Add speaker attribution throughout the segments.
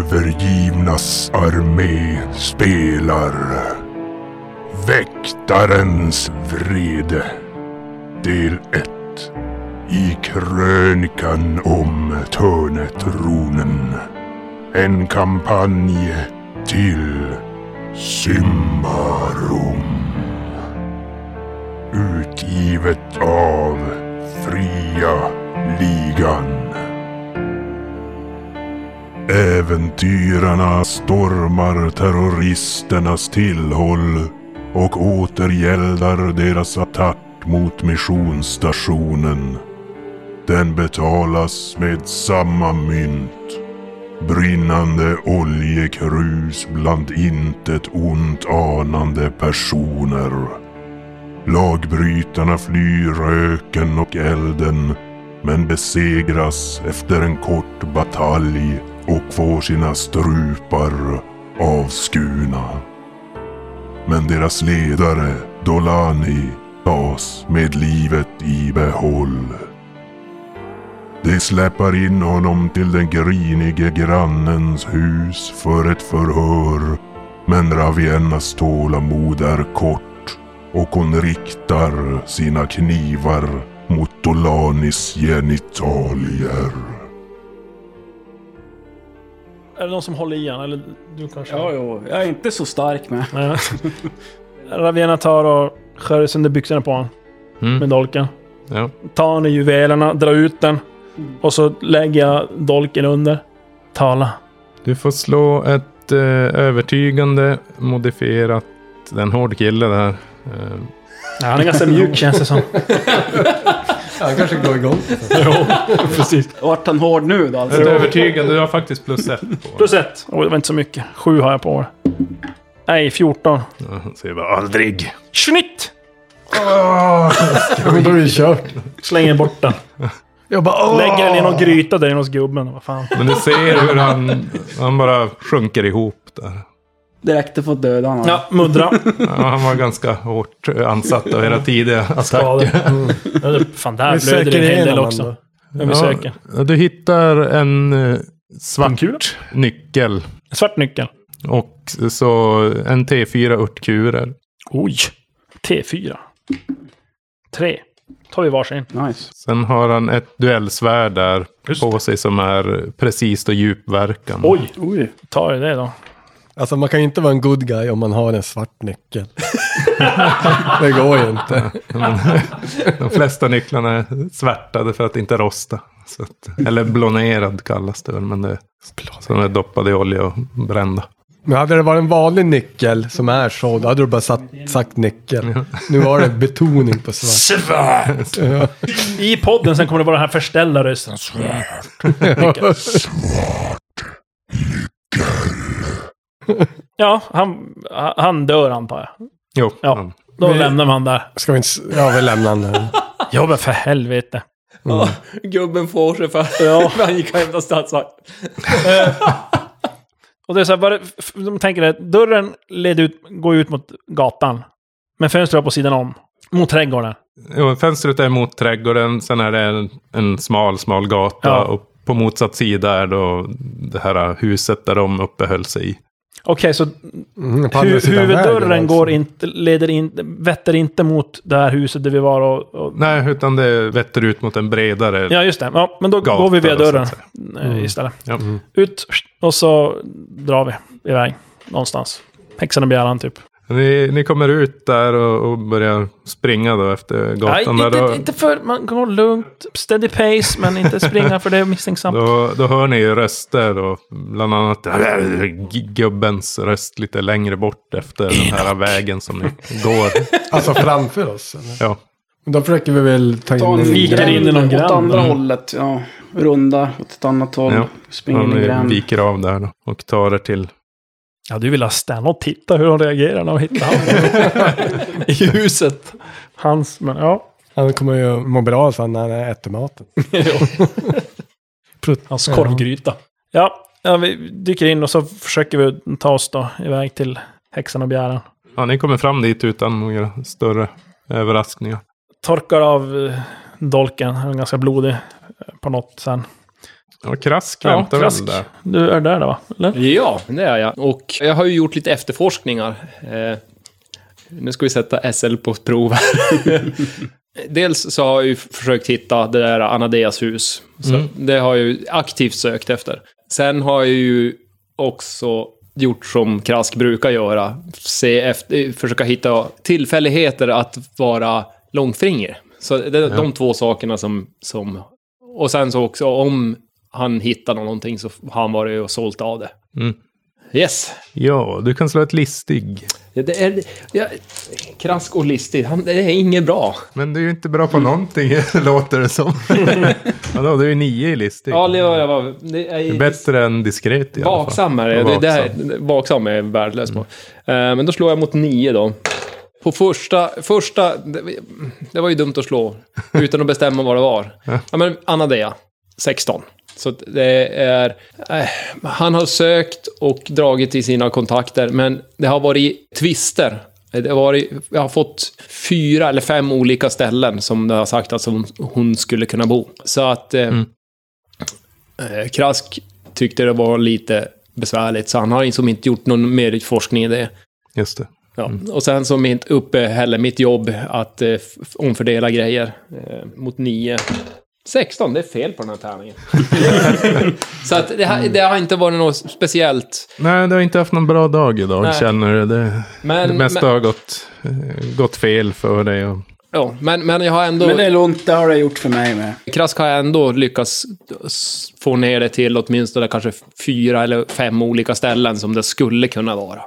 Speaker 1: övergivnas armé spelar Väktarens vrede Del 1 I krönikan om Törnetronen En kampanj till Symbarum Utgivet av Fria Ligan Äventyrarna stormar terroristernas tillhåll och återgäldar deras attack mot missionsstationen. Den betalas med samma mynt. Brinnande oljekrus bland intet ont anande personer. Lagbrytarna flyr röken och elden men besegras efter en kort batalj och får sina strupar avskurna. Men deras ledare, Dolani, tas med livet i behåll. De släpar in honom till den grinige grannens hus för ett förhör, men Raviennas tålamod är kort och hon riktar sina knivar mot Dolanis genitalier.
Speaker 2: Är det någon som håller i han? Eller du kanske?
Speaker 3: Ja, jo. Jag är inte så stark med.
Speaker 2: Nej. Ravena tar och skär sönder byxorna på honom med
Speaker 4: Mm.
Speaker 2: dolken.
Speaker 4: Ja.
Speaker 2: Tar han i juvelerna, drar ut den och så lägger jag dolken under. Tala.
Speaker 4: Du får slå ett eh, övertygande modifierat. Det är en hård kille det här. Eh,
Speaker 2: Ja, han är ganska mjuk känns det som.
Speaker 5: Han kanske går igång.
Speaker 2: Precis.
Speaker 3: Vart han hård nu då? Alltså.
Speaker 4: ett övertygande, du har faktiskt plus ett på.
Speaker 2: Plus ett. Oh, det var inte så mycket. Sju har jag på år. Nej, 14.
Speaker 4: Ja, han säger bara aldrig.
Speaker 2: Schnitt!
Speaker 5: Ja, men då är det kört.
Speaker 2: Slänger bort den.
Speaker 5: Jag bara åh!
Speaker 2: Lägger den i någon gryta där inne hos gubben. Vad fan.
Speaker 4: Men du ser hur han, han bara sjunker ihop där.
Speaker 3: Det räckte för att döda honom.
Speaker 2: Ja, muddra.
Speaker 4: Ja, han var ganska hårt ansatt av era tidiga attacker.
Speaker 2: Skador. Ja, det- Fan, där blöder
Speaker 5: Vi söker
Speaker 2: det en hel del
Speaker 5: igenom
Speaker 2: också.
Speaker 5: den
Speaker 2: Men vi
Speaker 4: Ja,
Speaker 2: söker.
Speaker 4: Du hittar en eh,
Speaker 2: En
Speaker 4: svart
Speaker 2: kula?
Speaker 4: nyckel
Speaker 2: Svart nyckel.
Speaker 4: och så en T4 örtkurer.
Speaker 2: Oj! T4. Tre. Tar vi varsin.
Speaker 3: Nice.
Speaker 4: Sen har han ett duellsvärd där
Speaker 2: Just
Speaker 4: på sig som är precis och djupverkande.
Speaker 2: Oj!
Speaker 3: Oj.
Speaker 2: Tar vi det då.
Speaker 5: Alltså man kan ju inte vara en good guy om man har en svart nyckel. det går ju inte.
Speaker 4: De flesta nycklarna är svärtade för att inte rosta. Så att, eller blonerad kallas det väl, men det som är doppade i olja och brända.
Speaker 5: Men hade det varit en vanlig nyckel som är så, då hade du bara satt, sagt nyckel. Nu var det betoning på svart.
Speaker 2: I podden sen kommer det vara den här förställda rösten. Ja, han, han dör antar jag.
Speaker 4: Jo,
Speaker 2: Ja.
Speaker 4: han-
Speaker 2: Då
Speaker 5: Men-
Speaker 2: lämnar man där.
Speaker 5: Ska vi inte... s- Ja, vi lämnar den. där.
Speaker 2: Ja, men för helvete.
Speaker 3: Ja, gubben får sig för
Speaker 2: Ja. Eh,
Speaker 3: för han gick och hämtade stadsvakt.
Speaker 2: Och det är så här, bara, f- de tänker att dörren leder ut, går ut mot gatan. Men fönstret var på sidan om. Mot trädgården.
Speaker 4: Jo, fönstret är mot trädgården, sen är det en, en smal, smal gata.
Speaker 2: Ja.
Speaker 4: Och på motsatt sida är då det här huset där de uppehöll sig i.
Speaker 2: Okej, så
Speaker 5: Mm, på andra
Speaker 2: hu-
Speaker 5: sidan
Speaker 2: huvuddörren
Speaker 5: vägen
Speaker 2: går
Speaker 5: alltså.
Speaker 2: inte, leder inte, vetter inte mot det här huset där vi var och... och
Speaker 4: Nej, utan det vetter ut mot en bredare...
Speaker 2: ja, just det. Ja, men då
Speaker 4: Gatan
Speaker 2: går vi via
Speaker 4: då, så att
Speaker 2: dörren
Speaker 4: säga. Mm.
Speaker 2: eh, istället.
Speaker 4: Ja.
Speaker 2: Ut och så drar vi iväg någonstans. Häxan och bjäran typ.
Speaker 4: Ni, ni kommer ut där och, och börjar springa då efter gatan.
Speaker 2: Nej, inte,
Speaker 4: där då,
Speaker 2: inte för... Man går lugnt, steady pace, men inte springa för det är misstänksamt.
Speaker 4: då, då hör ni ju röster och bland annat gubbens röst lite längre bort efter den här vägen som ni går.
Speaker 5: Alltså framför oss. Eller?
Speaker 4: Ja.
Speaker 5: Men Då försöker vi väl ta in
Speaker 3: Ta en
Speaker 5: en
Speaker 2: viker
Speaker 5: gränd.
Speaker 2: in i någon
Speaker 3: Åt
Speaker 2: gränd.
Speaker 3: andra
Speaker 2: Mm.
Speaker 3: hållet. Ja. Runda åt ett annat håll.
Speaker 4: Ja.
Speaker 3: Springer in i
Speaker 4: Han
Speaker 3: gränd.
Speaker 4: viker av där då och tar er till
Speaker 2: Ja, du vill ha Stan och titta hur de reagerar när de hittar honom. I huset. Hans, men ja.
Speaker 5: Han kommer ju må bra sen när han äter maten.
Speaker 2: Hans korvgryta. Ja, ja, vi dyker in och så försöker vi ta oss då iväg till häxan och bjäran.
Speaker 4: Ja, ni kommer fram dit utan några större överraskningar.
Speaker 2: Torkar av eh, dolken, han är ganska blodig eh, på något sen.
Speaker 4: Ja, krask
Speaker 2: Ja,
Speaker 4: väntar
Speaker 2: Krask.
Speaker 4: väl där.
Speaker 2: Du är där då, va? Eller?
Speaker 6: Ja, det är jag. Och jag har ju gjort lite efterforskningar. Eh, nu ska vi sätta SL på prov här. Dels så har jag ju försökt hitta det där Anadeas hus. Så Det har jag ju aktivt sökt efter. Sen har jag ju också gjort som Krask brukar göra. Se efter, eh, försöka hitta tillfälligheter att vara långfinger. Så det är de två sakerna som, som... Och sen så också om han hittar någonting så har han varit och sålt av det. Yes.
Speaker 4: Ja, du kan slå ett listig.
Speaker 6: Ja, Det är, ja, krask och listig. Han, det är inget bra.
Speaker 4: Men du är ju inte bra på någonting, låter det som. Vadå, du är ju nio i listig.
Speaker 6: Ja, det var... det var- Det är,
Speaker 4: Det är Bättre än diskret i alla fall.
Speaker 6: Vaksam är det.
Speaker 4: Och
Speaker 6: det där,
Speaker 4: vaksam.
Speaker 6: vaksam är jag värdelös på. Eh, Men då slår jag mot nio då. På första... första det, det var ju dumt att slå utan att bestämma vad det var. Ja, men Anadea, 16. Så att det är... Eh, han har sökt och dragit i sina kontakter, men det har varit tvister. Det har varit, jag har fått fyra eller fem olika ställen som det har sagt att hon, hon skulle kunna bo. Så att... Eh, Eh, Krask tyckte det var lite besvärligt, så han har liksom inte gjort någon mer forskning i det.
Speaker 4: Just det.
Speaker 6: Ja. Och sen så mitt uppehälle, mitt jobb, att eh, f- omfördela grejer eh, mot nio. 16, det är fel på den här tärningen. så att det, här, det har inte varit något speciellt.
Speaker 4: Nej, du har inte haft någon bra dag idag,
Speaker 6: Nej.
Speaker 4: känner du. Det,
Speaker 6: Men,
Speaker 4: det mesta
Speaker 6: men,
Speaker 4: har gått, eh, gått fel för dig. Och,
Speaker 6: ja, men, men jag har ändå...
Speaker 3: Men det är lugnt, det har det gjort för mig med.
Speaker 6: Krask har ändå lyckats s- få ner det till åtminstone kanske fyra eller fem olika ställen som det skulle kunna vara.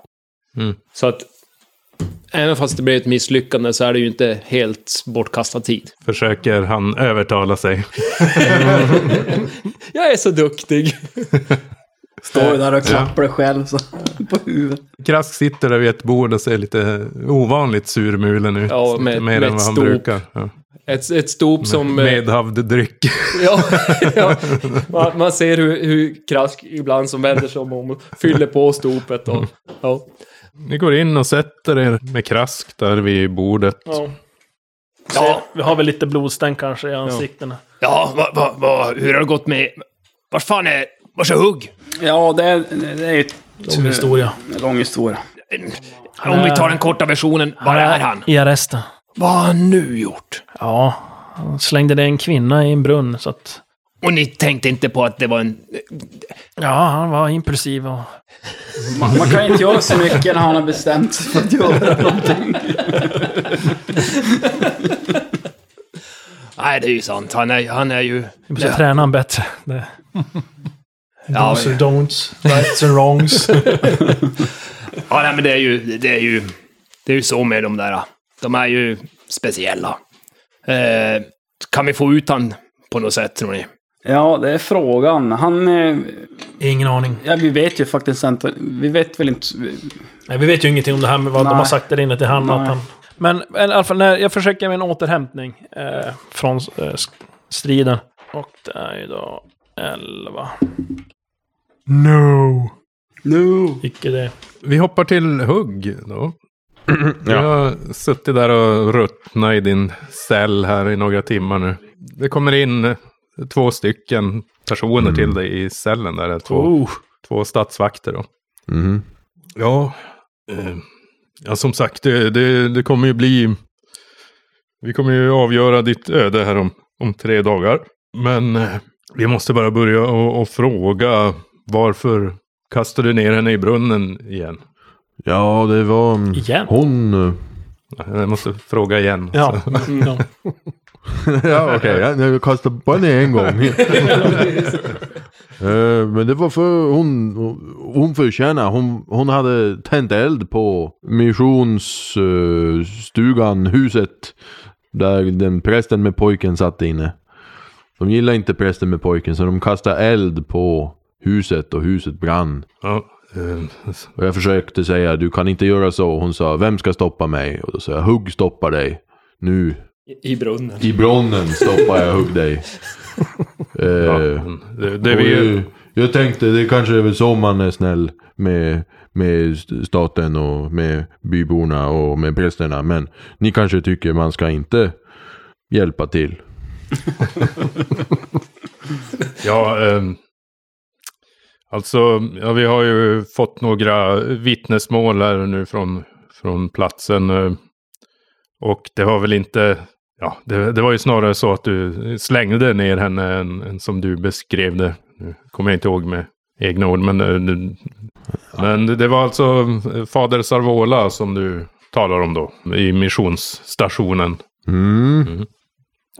Speaker 4: Mm.
Speaker 6: Så att även fast det blir ett misslyckande så är det ju inte helt bortkastad tid.
Speaker 4: försöker han övertala sig.
Speaker 6: Jag är så duktig!
Speaker 3: Står ju där och klappar dig själv så, på huvudet.
Speaker 4: Krask sitter där vid ett bord och ser lite ovanligt surmulen ut.
Speaker 6: Ja,
Speaker 4: mer
Speaker 6: med- med
Speaker 4: än
Speaker 6: ett
Speaker 4: vad han
Speaker 6: stop.
Speaker 4: brukar. Ja.
Speaker 6: Ett, ett stop som... eh,
Speaker 4: Medhavd dryck.
Speaker 6: Ja, ja. Man, man ser hur, hur Krask ibland som vänder sig om och fyller på stopet. Och, ja.
Speaker 4: Ni går in och sätter er med Krask där vid bordet.
Speaker 2: Ja. ja. Vi har väl lite blodstänk kanske i ansiktena.
Speaker 6: ja va, va, va, hur har det gått med... Vart fan är... Vars är Hugg?
Speaker 3: Ja, det är, det är ju
Speaker 2: Lång historia.
Speaker 3: en lång historia.
Speaker 6: Om vi tar den korta versionen, var är han?
Speaker 2: I arresten.
Speaker 6: Vad har han nu gjort?
Speaker 2: Ja. Han slängde det en kvinna i en brunn så att...
Speaker 6: Och ni tänkte inte på att det var en...
Speaker 2: Ja, han var impulsiv och...
Speaker 3: Man, man kan ju inte göra så mycket när han har bestämt sig för att göra någonting.
Speaker 6: Nej, det är ju sant. Han är, han är ju...
Speaker 2: Vi måste träna han bättre. Det.
Speaker 6: Ja,
Speaker 2: Do's and don'ts, rights and wrongs.
Speaker 6: Ja, nej, men det är ju... Det är ju, det är ju så med de där. De är ju speciella. Eh, kan vi få ut han på något sätt, tror ni?
Speaker 3: Ja, det är frågan. Han... eh,
Speaker 2: Ingen aning.
Speaker 3: Ja, vi vet ju faktiskt inte. Vi vet väl inte...
Speaker 2: Nej, vi vet ju ingenting om det här med vad de
Speaker 3: Nej.
Speaker 2: har sagt där inne till han. Att
Speaker 3: Nej.
Speaker 2: han... Men i alla fall, när jag försöker med en återhämtning eh, från eh, sk- striden. Och det är ju då 11. No!
Speaker 3: No!
Speaker 2: Icke det.
Speaker 4: Vi hoppar till hugg då. Jag har suttit där och ruttnat i din cell här i några timmar nu. Det kommer in eh, två stycken personer till dig i cellen där. eh, Två,
Speaker 2: Oh.
Speaker 4: två statsvakter då.
Speaker 7: Mhm.
Speaker 4: Ja, eh, ja som sagt, det, det, det kommer ju bli... Vi kommer ju avgöra ditt öde här om, om tre dagar. Men eh, vi måste bara börja och, och fråga varför kastade du ner henne i brunnen igen?
Speaker 7: Ja, det var... um,
Speaker 2: Igen?
Speaker 7: Hon... eh,
Speaker 4: Jag måste fråga igen.
Speaker 2: Ja. Mm, ja.
Speaker 7: ja, okej. Okay. Jag kastade bara ner en gång. Eh, Men det var för hon, hon förtjänar, hon, hon hade tänt eld på missionsstugan, eh, huset, där den prästen med pojken satt inne. De gillar inte prästen med pojken så de kastade eld på huset och huset brann.
Speaker 4: Ja, eh,
Speaker 7: Och jag försökte säga du kan inte göra så. Hon sa vem ska stoppa mig? Och då sa jag hugg stoppa dig. Nu
Speaker 6: I brunnen.
Speaker 7: i bronnen stoppar jag hugg dig. Eh,
Speaker 4: ja, det, det
Speaker 7: och
Speaker 4: vi
Speaker 7: jag, jag tänkte det kanske är väl så man är snäll med, med st- staten och med byborna och med prästerna. Men ni kanske tycker man ska inte hjälpa till.
Speaker 4: Ja, ehm, Alltså, ja, vi har ju fått några vittnesmål här nu från, från platsen. eh, Och det var väl inte, ja, det, det var ju snarare så att du slängde ner henne än, än som du beskrev det. Nu kommer jag inte ihåg med egna ord, men, eh, du- men det var alltså eh, fader Sarvola som du talar om då, i missionsstationen.
Speaker 7: Mm.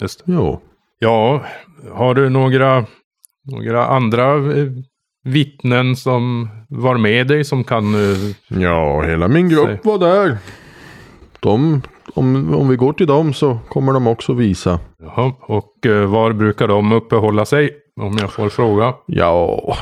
Speaker 4: Just
Speaker 7: Jo.
Speaker 4: Ja, har du några, några andra eh, vittnen som var med dig som kan... eh,
Speaker 7: Ja, hela min grupp var där. De, om, om vi går till dem så kommer de också visa.
Speaker 4: Jaha, och eh, var brukar de uppehålla sig? Om jag får fråga.
Speaker 7: Ja,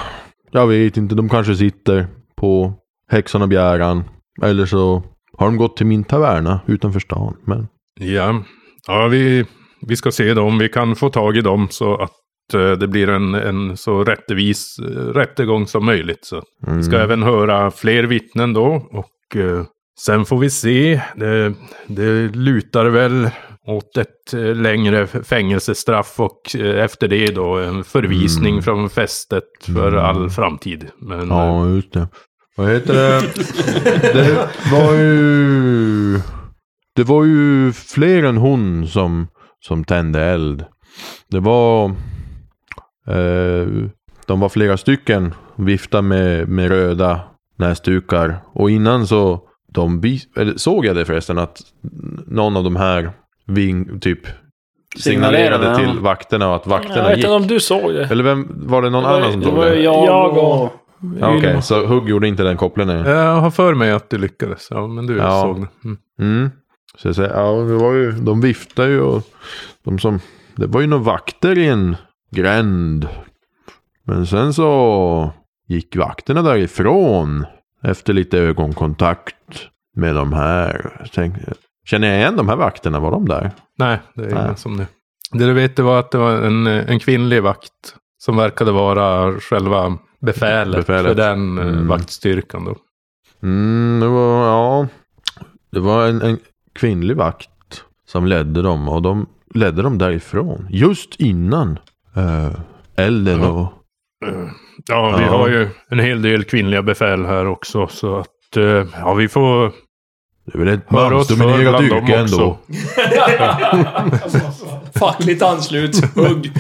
Speaker 7: jag vet inte. De kanske sitter på häxan och bjäran. Eller så har de gått till min taverna utanför stan. Men
Speaker 4: Ja, ja vi, vi ska se då om vi kan få tag i dem så att eh, det blir en, en så rättvis eh, rättegång som möjligt. Så Vi
Speaker 7: Mm.
Speaker 4: ska även höra fler vittnen då. Och eh, sen får vi se. Det, det lutar väl åt ett eh, längre f- fängelsestraff och eh, efter det då en förvisning från fästet för all framtid. Men eh,
Speaker 7: Mm. ja, just det. Vad heter det? det var ju... Det var ju fler än hon som, som tände eld. Det var... Eh, de var flera stycken. Vifta med, med röda näsdukar. Och innan så de vis- eller, såg jag det förresten att någon av de här ving, typ signalerade
Speaker 3: Signalerade, ja.
Speaker 7: till vakterna och att vakterna
Speaker 2: Jag vet
Speaker 7: gick.
Speaker 2: inte om du såg det.
Speaker 7: Eller vem, var det någon
Speaker 2: Det var-
Speaker 7: annan som
Speaker 2: det
Speaker 7: såg
Speaker 2: var
Speaker 7: det?
Speaker 2: ju
Speaker 7: Ja,
Speaker 2: jag.
Speaker 3: Jag och...
Speaker 7: Okej, så Hugg gjorde inte den kopplingen?
Speaker 4: eh, jag har för mig att du lyckades. Ja, men du
Speaker 7: Ja.
Speaker 4: såg det. Mm.
Speaker 7: Mm. Så jag säger, ja, det var ju, de viftade ju och de som, det var ju några vakter i en gränd. Men sen så gick vakterna därifrån efter lite ögonkontakt med de här. Tänk, känner jag igen de här vakterna? Var de där?
Speaker 4: Nej, det är ingen
Speaker 7: Nej.
Speaker 4: som det. Det du vet det var att det var en, eh, en kvinnlig vakt som verkade vara själva befälet,
Speaker 7: Befälet.
Speaker 4: för den eh,
Speaker 7: Mm.
Speaker 4: vaktstyrkan då.
Speaker 7: Mm, det var, ja, det var en, en kvinnlig vakt som ledde dem och de ledde dem därifrån. Just innan eh, elden
Speaker 4: Ja.
Speaker 7: och
Speaker 4: Ja, vi
Speaker 7: Ja.
Speaker 4: har ju en hel del kvinnliga befäl här också så att eh, ja, vi får
Speaker 7: Det är väl ett
Speaker 4: höra oss för
Speaker 7: mansdominerat
Speaker 4: bland dem
Speaker 7: yrke
Speaker 4: också.
Speaker 7: ändå.
Speaker 6: Fackligt anslut, hugg.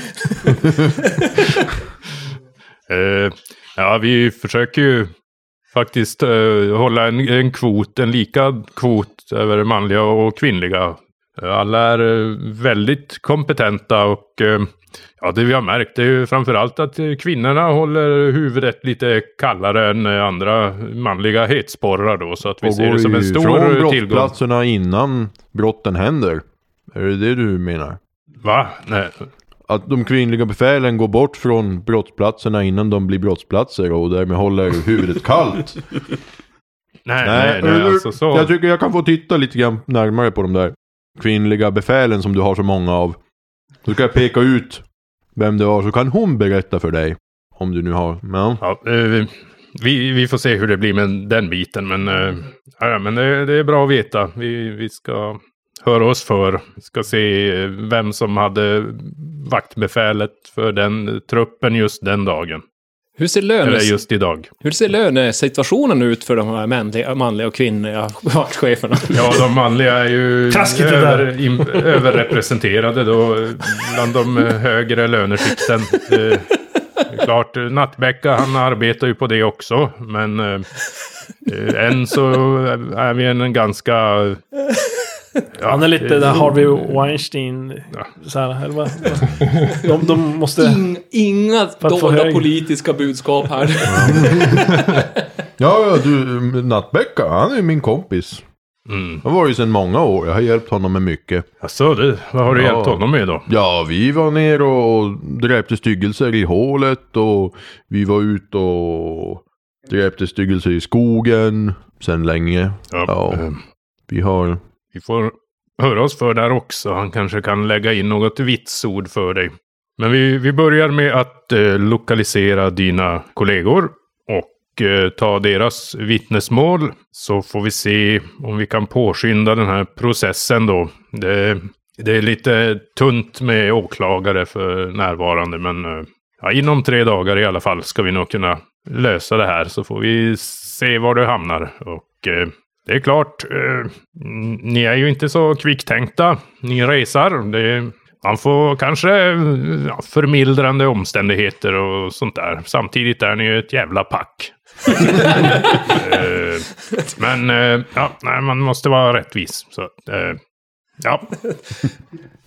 Speaker 4: Eh, ja, vi försöker ju faktiskt eh, hålla en, en kvot, en lika kvot över manliga och kvinnliga. Eh, Alla är eh, väldigt kompetenta och eh, ja, det vi har märkt är ju framförallt att eh, kvinnorna håller huvudet lite kallare än eh, andra manliga hetsporrar då. Så att vi ser det som en
Speaker 7: från
Speaker 4: stor eh, tillgång.
Speaker 7: brottsplatserna innan brotten händer. Är det det du menar?
Speaker 4: Va? Nej.
Speaker 7: Att de kvinnliga befälen går bort från brottsplatserna innan de blir brottsplatser och därmed håller huvudet kallt.
Speaker 4: Nej, nej, nej,
Speaker 7: eller-
Speaker 4: alltså så.
Speaker 7: Jag tycker jag kan få titta lite grann närmare på de där kvinnliga befälen som du har så många av. Då ska jag peka ut vem det var så kan hon berätta för dig. Om du nu har... Ja.
Speaker 4: Ja, eh, vi, vi får se hur det blir med den biten. Men, eh, ja, men det, det är bra att veta. Vi, vi ska höra oss för. Vi ska se eh, vem som hade vaktbefälet för den truppen just den dagen.
Speaker 6: Hur ser,
Speaker 4: Eller
Speaker 6: lönes,
Speaker 4: just idag.
Speaker 6: hur ser lönesituationen ut för de här manliga, manliga och kvinnliga vaktcheferna?
Speaker 4: Ja, de manliga är ju
Speaker 2: Taskigt det där.
Speaker 4: över, im, överrepresenterade då. eh, Bland de eh, högre löneskikten. Eh, det är Klart, eh, Nattbäcka han arbetar ju på det också. Men eh, eh, än så är vi en ganska... eh, ja,
Speaker 2: Han är lite
Speaker 4: eh,
Speaker 2: där Harvey Weinstein. Så här, eller vad? De, de måste...
Speaker 6: In, inga
Speaker 2: att få
Speaker 6: dolda
Speaker 2: hög-
Speaker 6: politiska budskap här.
Speaker 7: Ja, ja, du, Nattbäcka, han är ju min kompis.
Speaker 4: Mm.
Speaker 7: Han var ju sedan många år, jag har hjälpt honom med mycket.
Speaker 4: Alltså, du, vad har du
Speaker 7: Ja.
Speaker 4: hjälpt honom med då?
Speaker 7: Ja, vi var ner och dräpte styggelser i hålet och vi var ute och dräpte styggelser i skogen sen länge. Ja.
Speaker 4: eh,
Speaker 7: Vi har...
Speaker 4: Vi får höra oss för där också. Han kanske kan lägga in något vitsord för dig. Men vi, vi börjar med att eh, lokalisera dina kollegor och eh, ta deras vittnesmål. Så får vi se om vi kan påskynda den här processen då. Det, det är lite tunt med åklagare för närvarande men eh, ja, inom tre dagar i alla fall ska vi nog kunna lösa det här så får vi se var du hamnar. Och eh, det är klart, eh, n- ni är ju inte så kvicktänkta. Ni resar. Det, man får kanske eh, ja, förmildrande omständigheter och sånt där. Samtidigt är ni ju ett jävla pack. eh, men eh, ja, nej, man måste vara rättvis. Så, att, eh, ja.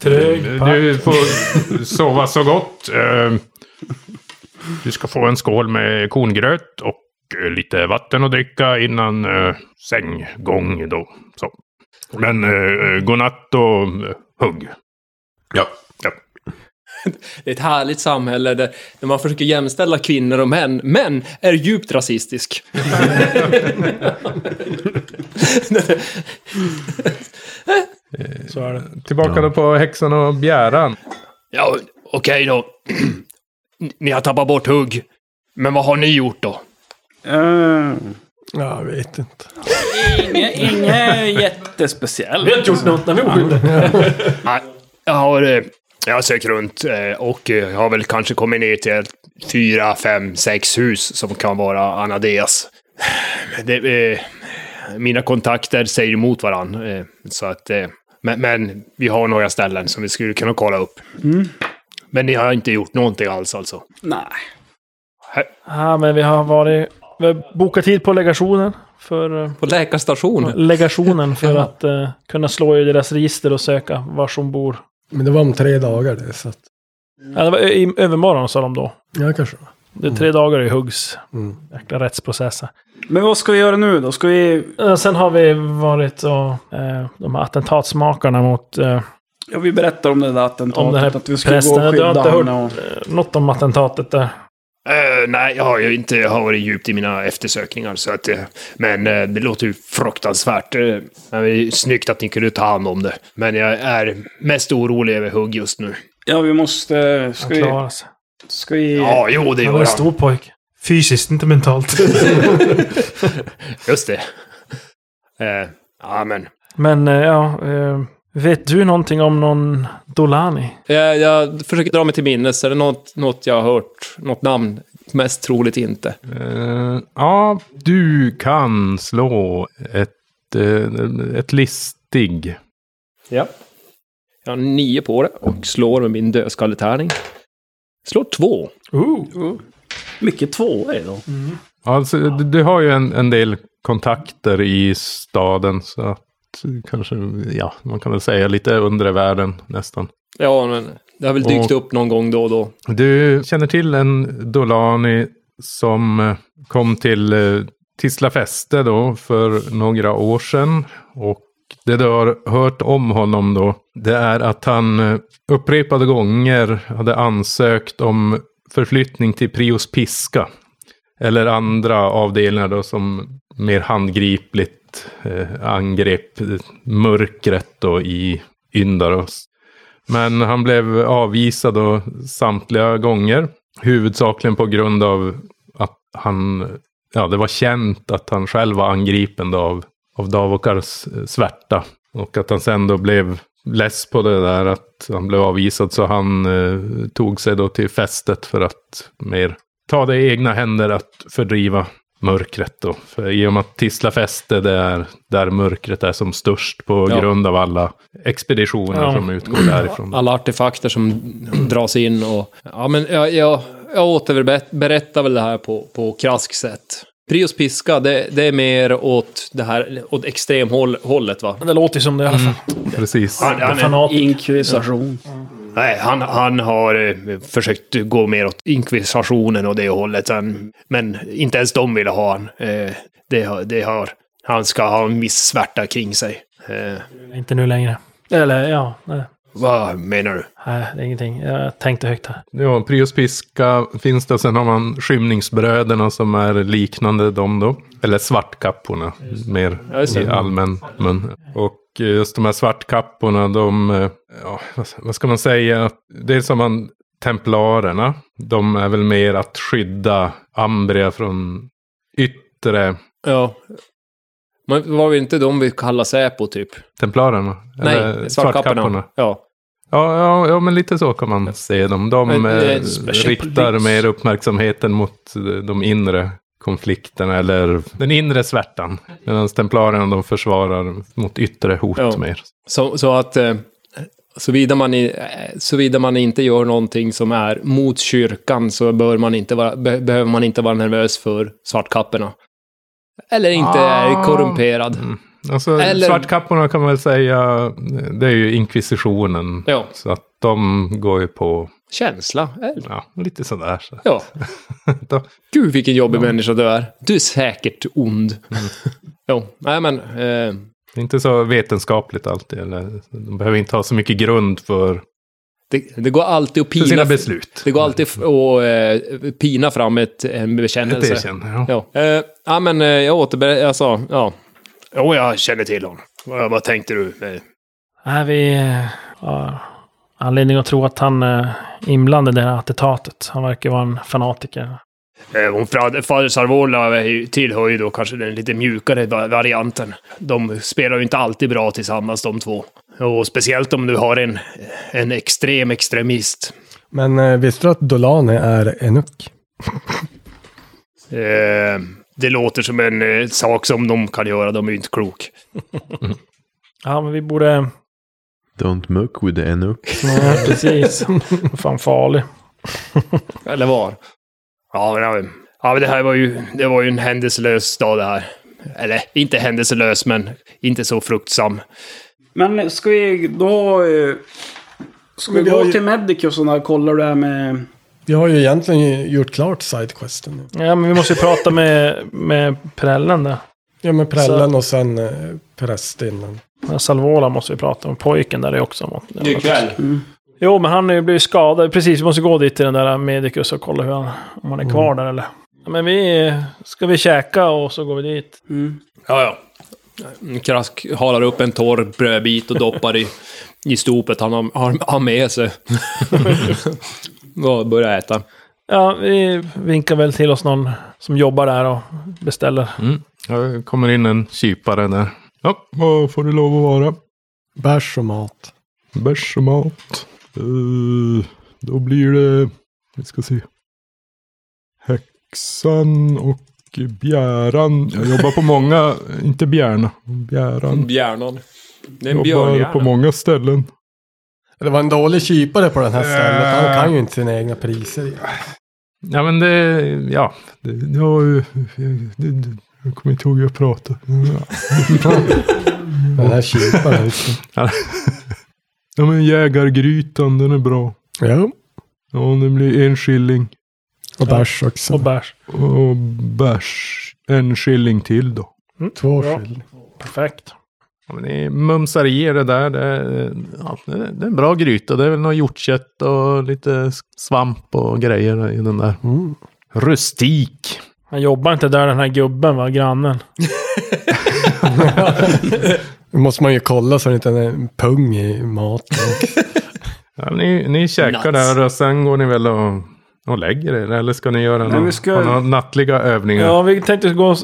Speaker 4: Du får sova så gott. Eh, Du ska få en skål med korngröt och eh, lite vatten att dricka innan eh, sänggång då. Så. Men eh, godnatt och eh, hugg. Ja. ja.
Speaker 6: Det är ett härligt samhälle där, där man försöker jämställa kvinnor och män, men är djupt rasistisk.
Speaker 2: Så är det.
Speaker 4: Tillbaka då på häxan och bjäran.
Speaker 6: Ja, okej då. Ni har tappat bort hugg. Men vad har ni gjort då?
Speaker 3: Uh,
Speaker 5: Jag vet inte.
Speaker 3: inget, inget jättespeciellt.
Speaker 2: Vi har inte gjort något när vi är oskyldiga.
Speaker 6: Nej, jag har, eh, jag har sökt runt eh, och eh, har väl kanske kommit ner till ett fyra, fem, sex hus som kan vara Anadeas. Det, eh, mina kontakter säger emot varandra. Eh, så att, eh, men, men vi har några ställen som vi skulle kunna kolla upp. Men ni har inte gjort någonting alls alltså?
Speaker 3: Nej.
Speaker 2: Ja, men vi har varit... Vi har bokat tid på legationen. För, eh,
Speaker 6: På läkarstationen?
Speaker 2: legationen för att eh, kunna slå i deras register och söka var som bor.
Speaker 5: Men det var om tre dagar det, så att...
Speaker 2: Ja, det var i, i övermorgon sa de då.
Speaker 5: Ja, kanske. det var.
Speaker 2: Det är tre dagar i huggs.
Speaker 5: Mm.
Speaker 2: Jäkla rättsprocesser.
Speaker 3: Men vad ska vi göra nu då? Ska vi...
Speaker 2: Eh, Sen har vi varit och eh, de här attentatsmakarna mot eh,
Speaker 3: Ja, vi berättar om det där attentatet.
Speaker 2: Om den här
Speaker 3: att vi skulle
Speaker 2: prästen,
Speaker 3: gå och
Speaker 2: du har
Speaker 3: skydda
Speaker 2: inte eh,
Speaker 3: henne och...
Speaker 2: något om attentatet där.
Speaker 6: Eh, nej, jag har ju inte jag har varit djupt i mina eftersökningar. Så att, eh, men eh, det låter ju fruktansvärt. Eh, men det är ju snyggt att ni kunde ta hand om det. Men jag är mest orolig över Hugg just nu.
Speaker 3: Ja, vi måste... Ska
Speaker 2: Han
Speaker 3: vi...
Speaker 2: klarar sig.
Speaker 3: Ska vi...
Speaker 6: Ja, jo,
Speaker 2: Han
Speaker 6: det
Speaker 2: var en
Speaker 6: gör han.
Speaker 2: stor pojk. Fysiskt, inte mentalt.
Speaker 6: Just det. Eh, ja, men.
Speaker 2: Men eh, ja, eh, vet du någonting om någon Dolani?
Speaker 6: Jag, Eh, jag försöker dra mig till minnes. Är det något, något jag har hört? Något namn? Mest troligt inte.
Speaker 4: Eh, ja, du kan slå ett, eh, ett listig.
Speaker 6: Ja. Jag har nio på det och slår med min dödskalletärning. Slår två.
Speaker 3: Mycket tvåor idag.
Speaker 4: Alltså, du, du har ju en, en del kontakter i staden. Så att kanske, ja, man kan väl säga lite undre världen nästan.
Speaker 6: Ja, men det har väl dykt upp någon gång då och då.
Speaker 4: Du känner till en Dolani som eh, kom till eh, Tisla Fäste då för några år sedan. Och det du har hört om honom då, det är att han eh, upprepade gånger hade ansökt om förflyttning till Prius Piska. Eller andra avdelningar då som mer handgripligt eh, angrep eh, mörkret då i Yndaros. Men han blev avvisad då samtliga gånger. Huvudsakligen på grund av att han, ja det var känt att han själv var angripen då av, av Davokars eh, svärta. Och att han sen då blev less på det där att han blev avvisad. Så han eh, tog sig då till fästet för att mer ta det i egna händer att fördriva mörkret då. För I och med att Tisla fäste det är där mörkret är som störst på
Speaker 6: Ja.
Speaker 4: grund av alla expeditioner
Speaker 2: Ja.
Speaker 4: som utgår därifrån.
Speaker 6: alla artefakter som dras in och... Ja, men jag, jag, jag återberättar väl det här på, på krask sätt. Prius piska, det, det är mer åt det här, åt extremhållet va?
Speaker 2: Det låter ju som det i alla fall.
Speaker 4: Precis.
Speaker 6: Han, han, är-
Speaker 2: Fanat.
Speaker 3: Inkvisation.
Speaker 6: nej, han, han har eh, försökt gå mer åt inkvisitionen och det hållet. Han, men inte ens de ville ha han. Eh, det, har- det har... Han ska ha en viss svärta kring sig. Eh,
Speaker 2: Inte nu längre. Eller ja, nej.
Speaker 6: vad menar du?
Speaker 2: Nej, det är ingenting. Jag tänkte högt här.
Speaker 4: Ja, Prius piska finns det. Sen har man skymningsbröderna som är liknande dem då. Eller svartkapporna. Mer
Speaker 6: Ja, just det.
Speaker 4: i allmän mun. Och eh, just de här svartkapporna, de... eh, Ja, vad- vad ska man säga? Det är som man... Templarerna, de är väl mer att skydda Ambria från yttre...
Speaker 6: Ja. Men var det inte de vi kallar Säpo typ?
Speaker 4: Templarerna?
Speaker 6: Nej, svartkapporna. Ja.
Speaker 4: Ja, ja, ja, men lite så kan man se dem. De
Speaker 6: Men det är
Speaker 4: eh,
Speaker 6: en special
Speaker 4: riktar
Speaker 6: police.
Speaker 4: mer uppmärksamheten mot eh, de inre konflikterna eller den inre svärtan. Medan templarerna de försvarar mot yttre hot
Speaker 6: Ja.
Speaker 4: mer.
Speaker 6: Så, så att eh, såvida man, i- eh, såvida man inte gör någonting som är mot kyrkan så bör man inte vara, be, behöver man inte vara nervös för svartkapporna. Eller inte är
Speaker 4: Ah.
Speaker 6: korrumperad.
Speaker 4: Alltså,
Speaker 6: Eller-
Speaker 4: Svartkapporna kan man väl säga, eh, det är ju inkvisitionen.
Speaker 6: Ja,
Speaker 4: Så att de går ju på,
Speaker 6: känsla. Eller?
Speaker 4: ja, lite sådär. Så.
Speaker 6: Ja.
Speaker 4: De,
Speaker 6: Gud vilken jobbig människa du är. Du är säkert ond.
Speaker 4: Mm.
Speaker 6: jo, nej men. Eh,
Speaker 4: det är inte så vetenskapligt alltid. Eller, de behöver inte ha så mycket grund för,
Speaker 6: det, det går alltid att
Speaker 4: för
Speaker 6: pina.
Speaker 4: sina beslut.
Speaker 6: Det går alltid f- att eh, pina fram ett, en
Speaker 4: Det
Speaker 6: bekännelse.
Speaker 4: erkänner jag.
Speaker 6: Ja, eh, ja men eh, jag återber... Alltså, ja. Jo, jag känner till honom. Vad, vad tänkte du? Eh,
Speaker 2: Nej, vi eh, har anledning att tro att han är inblandad i det här attentatet. Han verkar vara en fanatiker.
Speaker 6: eh, Hon fra- fader Sarvola är ju- tillhör ju då kanske den lite mjukare va- varianten. De spelar ju inte alltid bra tillsammans de två. Och speciellt om du har en, en extrem extremist.
Speaker 5: Men eh, visste du att Dolane är enuk?
Speaker 6: Eh, det låter som en eh, sak som de kan göra, de är ju inte klok.
Speaker 2: Ja, men vi borde...
Speaker 7: Don't muck with the Enoch.
Speaker 2: Nej, precis. Fan farlig.
Speaker 6: Eller var? Ja, men, ja, men- ja, men det här var ju, det var ju en händelselös dag det här. Eller inte händelselös, men inte så fruktsam.
Speaker 3: Men ska vi då... eh, Ska vi
Speaker 5: Men vi har
Speaker 3: gå
Speaker 5: ju-
Speaker 3: till Medicus och där, kolla det här med...
Speaker 5: Vi har ju egentligen gjort klart sidequesten nu.
Speaker 2: Ja, men vi måste ju prata med, med prällen där.
Speaker 5: Ja, med prällen och sen eh, prästinnan.
Speaker 2: Men Salvola måste vi prata med. Pojken där är också...
Speaker 6: Det är kväll.
Speaker 2: Jo, men han har ju blivit skadad. Precis, vi måste gå dit till den där Medicus och kolla hur han, om han är kvar där eller... Ja, men vi... eh, Ska vi käka och så går vi dit.
Speaker 6: Ja, ja. Krask halar upp en torr brödbit och doppar i, i stopet han har, har, har med sig. och börjar äta.
Speaker 2: Ja, vi vinkar väl till oss någon som jobbar där och beställer.
Speaker 4: Mm. Ja, det kommer in en kypare där. Ja, vad får du lov att vara?
Speaker 5: Bärs och mat.
Speaker 4: Bärs och mat. Eh, då blir det, vi ska se. Häxan och bjäran. Jag jobbar på många, inte bjärna, bjäran.
Speaker 6: Bjärnan. Det är en
Speaker 4: Jobbar på
Speaker 6: björnhjärna.
Speaker 4: många ställen.
Speaker 5: Det var en dålig kypare på den här stället. Han kan ju inte sina egna priser.
Speaker 4: Ja men det, ja. Det, det var ju, det, det, jag kommer inte ihåg hur jag pratade. Ja.
Speaker 5: Den här kyparen.
Speaker 4: ja men jägargrytan, den är bra.
Speaker 5: ja,
Speaker 4: Ja, den blir en skilling.
Speaker 5: och bärs också.
Speaker 2: Och bärs.
Speaker 4: Och bärs, en skilling till då.
Speaker 5: Två
Speaker 2: Ja.
Speaker 5: skilling.
Speaker 2: Perfekt.
Speaker 4: Ja, men det är mumsar i er det där. Det är, ja, det är det är en bra gryta. Det är väl något hjortkött och lite svamp och grejer i den där.
Speaker 5: Mm.
Speaker 4: Rustik.
Speaker 2: Han jobbar inte där den här gubben var grannen.
Speaker 5: Då måste man ju kolla så det inte är en pung i maten.
Speaker 4: Ja, ni, ni käkar
Speaker 6: Nuts.
Speaker 4: där och sen går ni väl och, och lägger er. Eller ska ni göra
Speaker 3: Nej,
Speaker 4: någon,
Speaker 3: vi ska-
Speaker 4: ha några nattliga övningar?
Speaker 2: Ja, vi tänkte gå...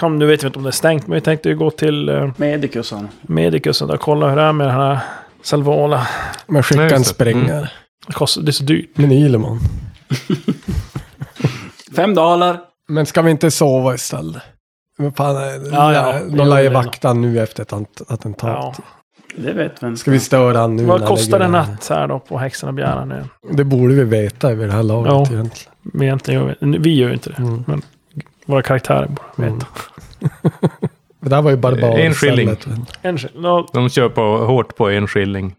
Speaker 2: om- Nu vet vi inte om det är stängt, men vi tänkte ju gå till eh,
Speaker 3: Medicus han.
Speaker 2: Medicus och där, kolla hur det är med den här Salvola.
Speaker 5: Men
Speaker 4: Nej,
Speaker 5: skicka en
Speaker 4: just det.
Speaker 5: sprängare.
Speaker 2: Det kostar- det är så dyrt.
Speaker 5: Men Ileman.
Speaker 3: Fem dalar.
Speaker 5: Men ska vi inte sova istället? Vad fan,
Speaker 2: Ja, ja.
Speaker 5: de lär ju vakta han nu efter ett ant- attentat.
Speaker 2: Ja.
Speaker 3: Det vet vi inte.
Speaker 5: Ska vi störa han nu? när
Speaker 2: Vad
Speaker 5: han
Speaker 2: kostar
Speaker 5: ligger
Speaker 2: en
Speaker 5: där?
Speaker 2: natt här då på Häxan och Bjärnan nu?
Speaker 5: Det borde vi veta vid det här laget
Speaker 2: Ja.
Speaker 5: egentligen.
Speaker 2: Men egentligen gör vi, vi gör ju inte det.
Speaker 5: Mm.
Speaker 2: Våra karaktärer borde veta.
Speaker 5: Mm. Det där var ju barbariskt.
Speaker 4: En skilling.
Speaker 2: En skil- Nå,
Speaker 4: De kör på, hårt på en skilling.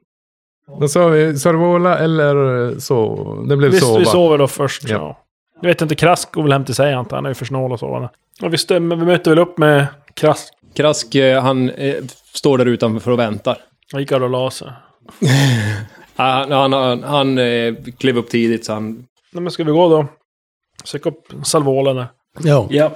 Speaker 4: Då sa vi Sarvola eller så. Det blev
Speaker 2: vi,
Speaker 4: sova.
Speaker 2: vi sover då först.
Speaker 4: Ja.
Speaker 2: Ja. Jag vet inte, Krask går väl hem till sig antar jag. Han är ju för snål och sovande. Och vi, stämmer, vi möter väl upp med Krask.
Speaker 6: Krask, eh, han eh, står där utanför och väntar.
Speaker 2: Han gick och la sig.
Speaker 6: Han, han, han, han eh, klev upp tidigt så han...
Speaker 2: Nej, men ska vi gå då? Sök upp Salvola där.
Speaker 5: Ja,
Speaker 3: Ja.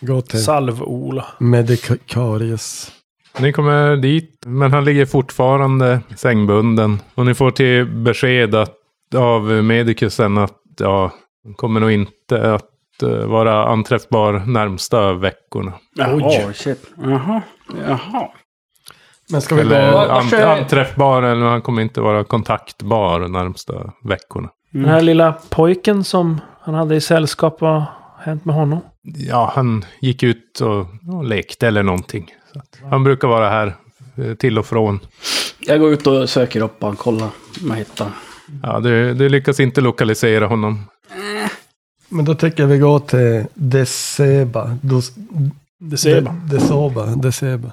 Speaker 5: gå till
Speaker 2: Salvola.
Speaker 5: Medicarius.
Speaker 4: Ni kommer dit, men han ligger fortfarande sängbunden. Och ni får till besked att, av Medicusen att ja, han kommer nog inte att eh, vara anträffbar närmsta veckorna.
Speaker 3: Jaha, shit. Jaha. Jaha.
Speaker 5: Men ska vi
Speaker 4: Eller
Speaker 5: bara...
Speaker 3: Vad- vad
Speaker 4: an,
Speaker 3: kör-
Speaker 4: anträffbar, eller han kommer inte vara kontaktbar de närmsta veckorna.
Speaker 2: Den här lilla pojken som han hade i sällskap, vad har hänt med honom?
Speaker 4: Ja, han gick ut och, och lekte eller någonting. Så att, han brukar vara här eh, till och från.
Speaker 3: Jag går ut och söker upp honom, kollar om jag hittar.
Speaker 4: Ja, du, du lyckas inte lokalisera honom.
Speaker 5: Men då tycker jag vi går till Deseba. Dos,
Speaker 2: Deceba.
Speaker 5: De, Desoba. Deseba.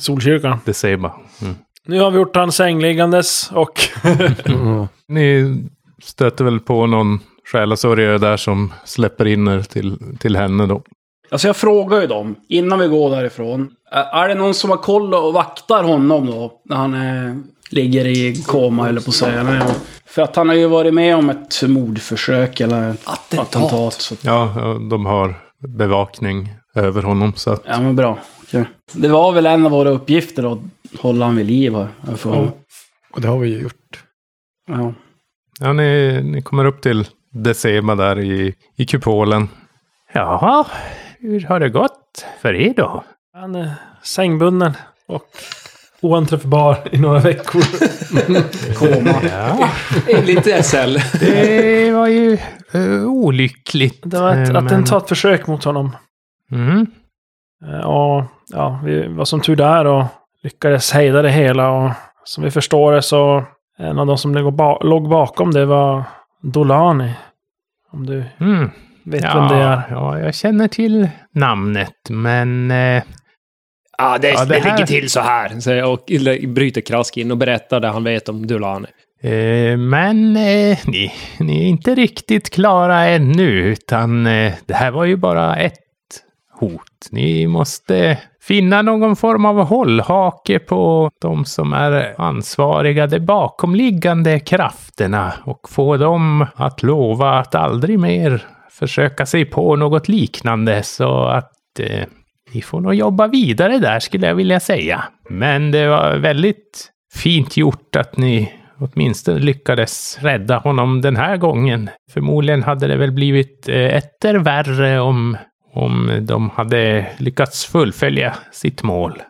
Speaker 2: Solkyrkan.
Speaker 4: Det ser bara. Mm.
Speaker 2: Nu har vi gjort han sängliggandes och...
Speaker 5: Mm.
Speaker 4: Ni stöter väl på någon själasörjare där som släpper in er till, till henne då.
Speaker 3: Alltså jag frågar ju dem innan vi går därifrån. Ä- Är det någon som har koll och vaktar honom då? När han eh, ligger i koma eller på att säga. Nej, För att han har ju varit med om ett mordförsök eller ett attentat. så att,
Speaker 4: Ja, ja, de har bevakning över honom. Så att,
Speaker 3: ja men bra. Okej. Det var väl en av våra uppgifter då, att hålla han vid liv här. Jag får-
Speaker 5: Och det har vi ju gjort.
Speaker 3: Ja.
Speaker 4: ja, ni, ni kommer upp till Deceba där i, i kupolen. Jaha, hur har det gått för er då?
Speaker 2: Han är sängbunden och oanträffbar i några veckor.
Speaker 4: Ja,
Speaker 6: Enligt SL.
Speaker 4: det var ju eh, olyckligt.
Speaker 2: Det var ett
Speaker 4: eh, men-
Speaker 2: attentatförsök mot honom.
Speaker 4: Mm.
Speaker 2: Eh, Och ja, vi var som tur där och lyckades hejda det hela. Och som vi förstår det så en av de som låg ba- låg bakom det var Dolani. Om du
Speaker 4: Mm.
Speaker 2: vet vem det är.
Speaker 4: ja, jag känner till namnet, men... eh,
Speaker 6: Ja, det,
Speaker 4: Ja, det
Speaker 6: det,
Speaker 4: här-
Speaker 6: ligger till så här. säger jag och eller bryter krask in och berättar det han vet om Dulani.
Speaker 4: Eh, men eh, ni, ni är inte riktigt klara ännu, utan eh, det här var ju bara ett hot. Ni måste finna någon form av hållhake på de som är ansvariga, de bakomliggande krafterna och få dem att lova att aldrig mer försöka sig på något liknande så att eh, ni får nog jobba vidare där skulle jag vilja säga. Men det var väldigt fint gjort att ni åtminstone lyckades rädda honom den här gången. Förmodligen hade det väl blivit eh, etter värre om, om de hade lyckats fullfölja sitt mål.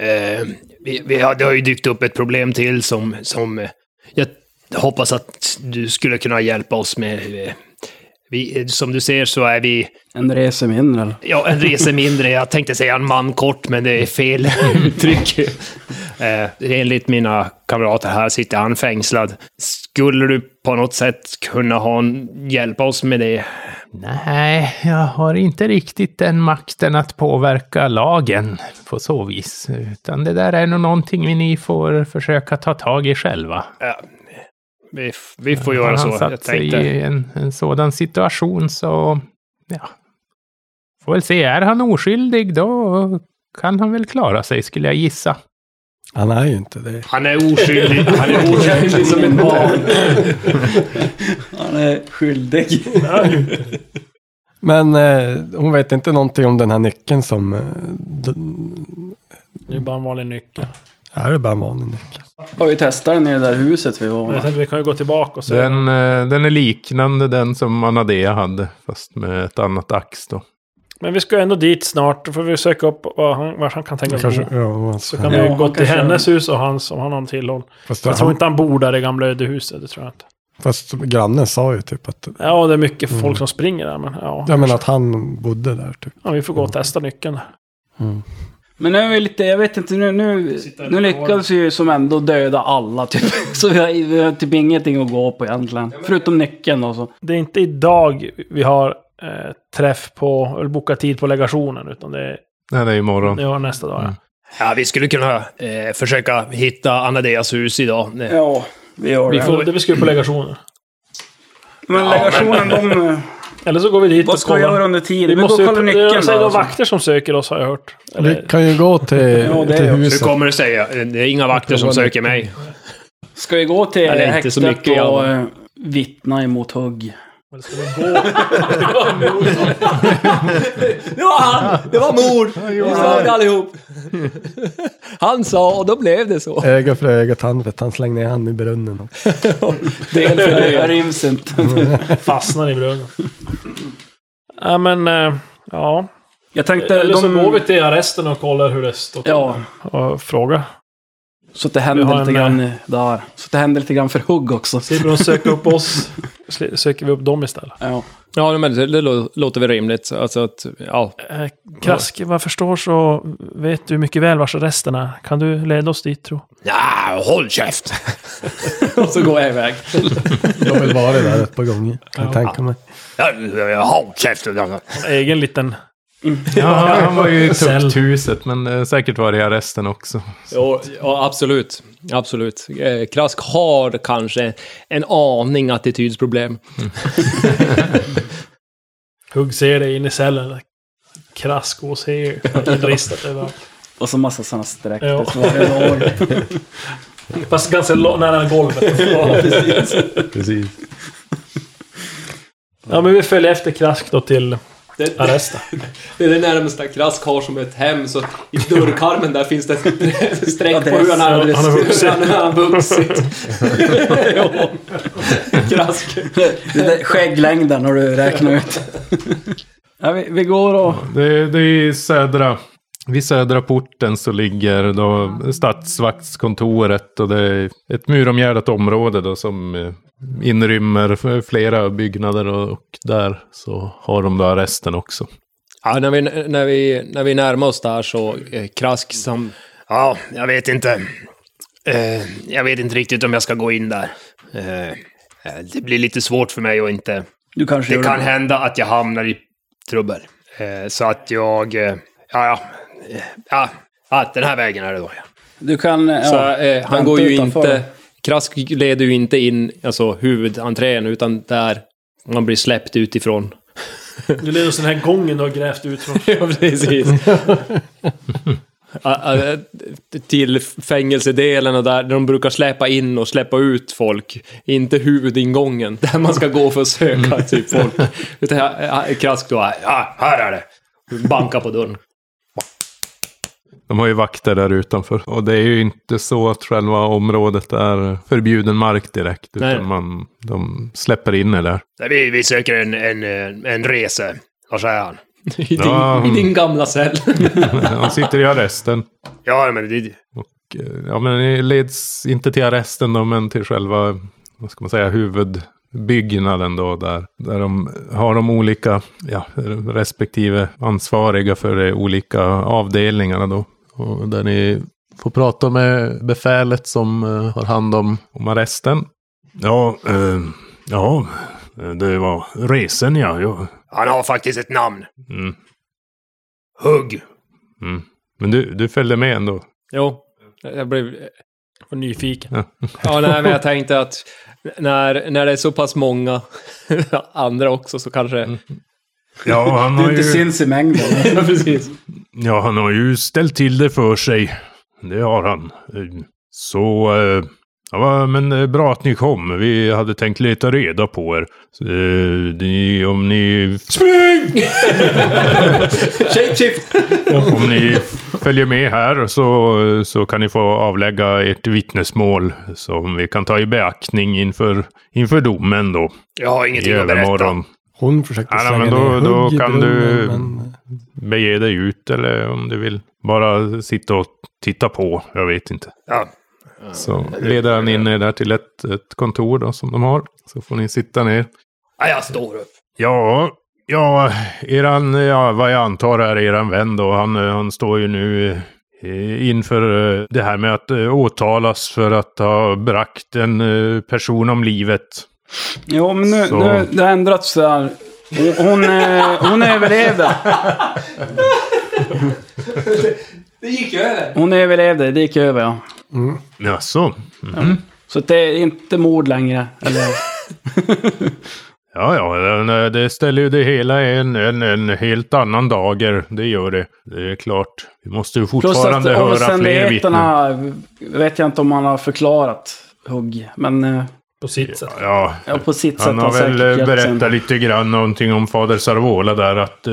Speaker 6: Eh, vi, vi har, det har ju dykt upp ett problem till som, som eh, jag hoppas att du skulle kunna hjälpa oss med. eh, Vi, eh, som du ser så är vi
Speaker 3: En resa mindre eller?
Speaker 6: ja, en resa mindre. Jag tänkte säga en man kort, men det är fel uttryck. Eh, enligt mina kamrater här sitter han fängslad. Skulle du på något sätt kunna ha en, hjälpa oss med det?
Speaker 4: Nej, jag har inte riktigt den makten att påverka lagen på så vis. Utan det där är nog någonting ni får försöka ta tag i själva.
Speaker 6: Vi, f- vi får göra så.
Speaker 4: han
Speaker 6: Jag
Speaker 4: satt sig
Speaker 6: tänkte.
Speaker 4: i en, en sådan situation så... Ja. Får väl se, är han oskyldig då kan han väl klara sig skulle jag gissa.
Speaker 5: Han är ju inte det.
Speaker 6: Han är oskyldig. Han är oskyldig.
Speaker 3: Skyldig som ett liksom barn. Han är skyldig.
Speaker 5: Men eh, hon vet inte någonting om den här nyckeln som... Eh, den,
Speaker 2: Det är bara en vanlig nyckel.
Speaker 5: är det bara en vanlig nyckel?
Speaker 3: Har ju testat den i det där huset vi var
Speaker 2: Men Jag
Speaker 3: i.
Speaker 2: tänkte vi kan ju gå tillbaka och se.
Speaker 4: Den, eh, den är liknande den som Anadea hade, fast med ett annat ax då.
Speaker 2: Men vi ska ju ändå dit snart. Då får vi söka upp vad han, var han kan tänka sig
Speaker 5: Kanske,
Speaker 2: bo.
Speaker 5: ja, vad
Speaker 2: Så
Speaker 5: ska-
Speaker 2: kan vi
Speaker 3: Ja,
Speaker 2: ju gå
Speaker 3: han
Speaker 2: till
Speaker 3: kanske-
Speaker 2: hennes hus och hans om han har en tillhåll.
Speaker 5: fast,
Speaker 2: Jag tror
Speaker 5: han,
Speaker 2: inte han bor där i gamla ödehuset, det tror jag inte.
Speaker 5: fast grannen sa ju typ att...
Speaker 2: Ja, det är mycket folk som springer där, men ja.
Speaker 5: Jag menar att han bodde där typ.
Speaker 2: ja vi får gå och testa nyckeln.
Speaker 3: Men nu är vi lite, jag vet inte, nu, nu, nu lyckades vi ju som ändå döda alla typ. Så vi har, vi har typ ingenting att gå på egentligen. Förutom nyckeln då så.
Speaker 2: Det är inte idag vi har eh, träff på, eller bokat tid på legationen, utan det är
Speaker 4: Nej, det är imorgon.
Speaker 2: det var nästa dag. ja. Mm.
Speaker 6: Ja, vi skulle kunna eh, försöka hitta Anadeas hus idag. Eh,
Speaker 3: Ja, vi gör
Speaker 2: Vi får, det vi ska ju på legationen.
Speaker 3: Men legationen de... eh,
Speaker 2: Eller så går vi dit
Speaker 3: Vad
Speaker 2: och
Speaker 3: ska vi
Speaker 2: kollar.
Speaker 3: göra under tiden?
Speaker 2: Vi
Speaker 3: Vi
Speaker 2: måste
Speaker 3: måste
Speaker 2: ju...
Speaker 3: kolla
Speaker 2: Det är
Speaker 3: nyckeln
Speaker 2: alltså
Speaker 3: då.
Speaker 2: några
Speaker 3: Alltså.
Speaker 2: vakter som söker oss har jag hört.
Speaker 5: Vi
Speaker 2: Eller,
Speaker 5: kan ju gå till,
Speaker 3: Ja, det
Speaker 5: till
Speaker 3: är också-
Speaker 6: Hur
Speaker 5: huset.
Speaker 6: kommer det sig? Eh, Det är inga vakter som söker mig.
Speaker 3: Ska vi gå till
Speaker 6: Eller inte så
Speaker 3: häktet
Speaker 6: mycket,
Speaker 3: och
Speaker 6: ja.
Speaker 3: eh, vittna emot hugg?
Speaker 2: eller ska vi gå?
Speaker 6: Det var han! Det var mord! Vi sa det allihop. Han sa och då blev det så.
Speaker 5: Öga för öga, tand för tand. Släng ner han i brunnen. också.
Speaker 6: Del för
Speaker 3: Det
Speaker 6: del.
Speaker 3: ryms inte.
Speaker 2: Fastnar i bröden. Ja, men... eh, Ja.
Speaker 3: Jag tänkte...
Speaker 2: Eller så
Speaker 3: de-
Speaker 2: går vi till arresten och kollar hur det står till.
Speaker 3: Ja,
Speaker 2: Och frågar.
Speaker 3: Så att det
Speaker 2: Vi
Speaker 3: händer
Speaker 2: har
Speaker 3: lite
Speaker 2: en,
Speaker 3: grann där. Så att det händer lite grann för hugg också.
Speaker 2: Se hur de söker upp oss. Sli- Söker vi upp dem istället.
Speaker 3: Ja.
Speaker 6: Ja, men det, det lå- låter väl rimligt. Alltså att, ja.
Speaker 2: Eh, Krask, vad jag förstår så vet du mycket väl vars resten är. Kan du leda oss dit tro?
Speaker 6: ja håll käft!
Speaker 3: Och så går jag iväg.
Speaker 5: De har väl varit där ett par gånger, kan jag tänka mig.
Speaker 6: eh, Håll käften!
Speaker 2: Egen liten...
Speaker 4: Ja, han var ju i
Speaker 2: Cell.
Speaker 4: tukthuset, men eh, säkert var det i arresten också.
Speaker 6: Jo, ja, absolut. Absolut. Eh, Krask har kanske en aning attitydsproblem.
Speaker 2: Hugg ser dig in i cellen. Krask goes here. Ristat överallt.
Speaker 3: Och så massa sådana streck.
Speaker 2: Ja.
Speaker 3: Det var en år.
Speaker 2: Fast ganska lo- nära golvet.
Speaker 5: Precis.
Speaker 2: ja, men vi följer efter Krask då till
Speaker 6: Det,
Speaker 2: arresten.
Speaker 6: det är det närmsta Krask har som ett hem, så i dörrkarmen där finns det ett streck
Speaker 3: på hur han har-
Speaker 2: Han har vuxit. hur
Speaker 6: har vuxit. Krask.
Speaker 3: Det där Skägglängden har du räknat ut. Ja, vi, vi går och...
Speaker 4: Det, det är i södra. Vid södra porten så ligger då stadsvaktskontoret och det är ett muromgärdat område då som eh, inrymmer f- flera byggnader och, och där så har de då arresten också.
Speaker 6: Ja, när vi, när vi, när vi närmar oss där så eh, Krask som...
Speaker 8: Ja, jag vet inte. Eh, jag vet inte riktigt om jag ska gå in där. Eh, eh, det blir lite svårt för mig att inte...
Speaker 3: Du kanske
Speaker 8: Det
Speaker 3: gör
Speaker 8: kan hända att jag hamnar i trubbel. Eh, så att jag... Eh, ja, ja. Eh, ja. Ah, den här vägen är det då. ja.
Speaker 3: Du kan... Ja,
Speaker 6: Så, eh,
Speaker 3: vänta
Speaker 6: han går ju
Speaker 3: utanför.
Speaker 6: inte... Krask leder ju inte in alltså, huvudentrén, utan där man blir släppt utifrån.
Speaker 2: Du leder oss den här gången du har grävt ut från...
Speaker 6: ja, precis. Ah, ah, till fängelsedelen och där, där de brukar släppa in och släppa ut folk. Inte huvudingången, där man ska gå för att
Speaker 8: Mm.
Speaker 6: söka typ folk. Utan ah, ah, Krask då, ah,
Speaker 8: Ja, här är det.
Speaker 6: banka på dörren.
Speaker 4: De har ju vakter där utanför och det är ju inte så att själva området är förbjuden mark direkt utan
Speaker 6: Nej.
Speaker 4: man, de släpper in er där.
Speaker 8: Nej, Vi, vi söker en, en, eh, en rese. Var är han?
Speaker 6: I din,
Speaker 4: Ja.
Speaker 6: I din gamla cell.
Speaker 4: Han sitter i arresten.
Speaker 8: Ja, men det,
Speaker 4: Och, eh, ja, men ni leds inte till arresten då, men till själva, vad ska man säga, huvudbyggnaden då, där, där de har de olika, ja, respektive ansvariga för de olika avdelningarna då. Och där ni får prata med befälet som eh, har hand om, om arresten.
Speaker 9: Ja,
Speaker 4: eh,
Speaker 9: ja, det var resen ja. ja.
Speaker 8: han har faktiskt ett namn.
Speaker 4: Mm.
Speaker 8: Hugg.
Speaker 4: Mm. Men du, du följde med ändå?
Speaker 6: Jo, jag blev... eh,
Speaker 2: Var nyfiken.
Speaker 6: Ja, nej, men jag tänkte att när, när det är så pass många andra också så kanske...
Speaker 9: Ja, han
Speaker 3: Du inte syns i mängden.
Speaker 6: Ja, precis.
Speaker 9: Ja, han har ju ställt till det för sig. Det har han. Eh, Så... eh, Ja, va, men eh, bra att ni kom. Vi hade tänkt leta reda på er. Så, eh, ni, om ni...
Speaker 6: Shapeshift!
Speaker 9: Om ni följer med här så, så kan ni få avlägga ert vittnesmål som vi kan ta i beaktning inför, inför domen då.
Speaker 8: Jag har
Speaker 9: I
Speaker 8: ingenting att berätta.
Speaker 9: övermorgon.
Speaker 5: Hon försökte
Speaker 9: Ja, nej,
Speaker 5: slänga
Speaker 9: men då-
Speaker 5: ner
Speaker 9: då
Speaker 5: hugg i
Speaker 9: kan
Speaker 5: brunnen,
Speaker 9: du-
Speaker 5: men eh,
Speaker 9: Bege dig ut eller om du vill bara sitta och titta på. Jag vet inte.
Speaker 8: Ja.
Speaker 4: Så leder han in er där till ett, ett kontor då, som de har. Så får ni sitta ner.
Speaker 8: Ja, jag står upp.
Speaker 9: Ja, ja, eran, ja, vad jag antar är eran vän då. Han, eh, han står ju nu eh, inför eh, det här med att eh, åtalas för att ha bragt en eh, person om livet.
Speaker 3: Jo, men nu,
Speaker 9: Så.
Speaker 3: nu det har ändrats där. Hon, hon, eh, hon överlevde.
Speaker 6: Det gick ju över!
Speaker 3: Hon överlevde, det gick över ja.
Speaker 9: Jaså?
Speaker 3: Så att det är inte mord längre. Eller,
Speaker 9: Ja, ja, den, eh, det ställer ju det hela i en, en, en helt annan dager. Det gör det. Det är klart. Vi måste ju
Speaker 3: plus att
Speaker 9: fortfarande höra fler vittnen.
Speaker 3: omständigheterna vet jag inte om han har förklarat hugg. Men eh,
Speaker 2: På sitt sätt.
Speaker 9: Ja,
Speaker 3: ja, på sitt sätt
Speaker 9: Han har
Speaker 3: säkert
Speaker 9: väl
Speaker 3: hjälpt
Speaker 9: eh,
Speaker 3: sin-
Speaker 9: berättat lite grann någonting om fader Sarvola där att eh,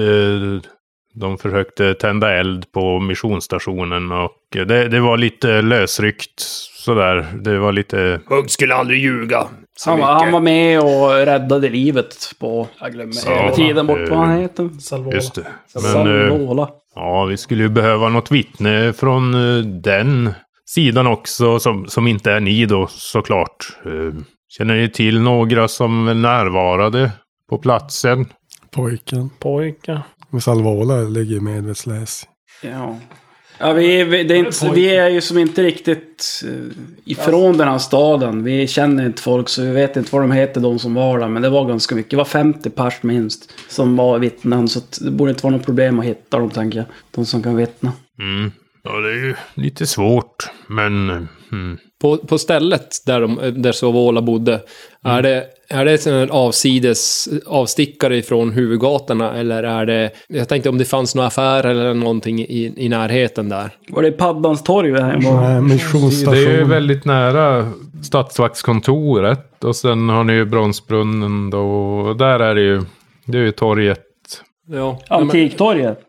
Speaker 9: de försökte tända eld på missionsstationen och eh, det, det var lite lösryckt sådär. Det var lite...
Speaker 8: Hugg skulle aldrig ljuga. Så
Speaker 3: Han, var-
Speaker 8: mycket.
Speaker 3: han var med och räddade livet på... Jag glömmer
Speaker 9: Så,
Speaker 3: hela tiden bort
Speaker 9: eh,
Speaker 3: vad han heter.
Speaker 2: Salvola.
Speaker 9: Just det. Men eh,
Speaker 3: Salvola.
Speaker 9: ja, vi skulle ju behöva något vittne från eh, den sidan också, som, som inte är ni då såklart. Eh, Känner ni till några som närvarade på platsen?
Speaker 5: Pojken
Speaker 2: Pojkar.
Speaker 5: med Salvola ligger medvetslös.
Speaker 3: Ja. Ja, vi, vi, det är inte, vi är ju som inte riktigt eh, ifrån den här staden. Vi känner inte folk så vi vet inte vad de heter de som var där. Men det var ganska mycket. Det var 50 pers minst som var vittnen. Så att det borde inte vara något problem att hitta dem tänker jag. De som kan vittna.
Speaker 9: Mm. Ja, det är ju lite svårt, men... eh, Mm.
Speaker 6: På, på stället där, de, där Sovola bodde, är det, är det sån här avsides avstickare ifrån huvudgatorna eller är det... Jag tänkte om det fanns några affärer eller någonting i, i närheten där.
Speaker 3: Var det Paddans torg vi här var?
Speaker 5: Nej,
Speaker 9: Det är ju
Speaker 5: missionsstation.
Speaker 9: väldigt nära stadsvaktskontoret och sen har ni ju Bronsbrunnen då. Och där är det ju, det är ju torget,
Speaker 6: Ja,
Speaker 3: Antiktorget?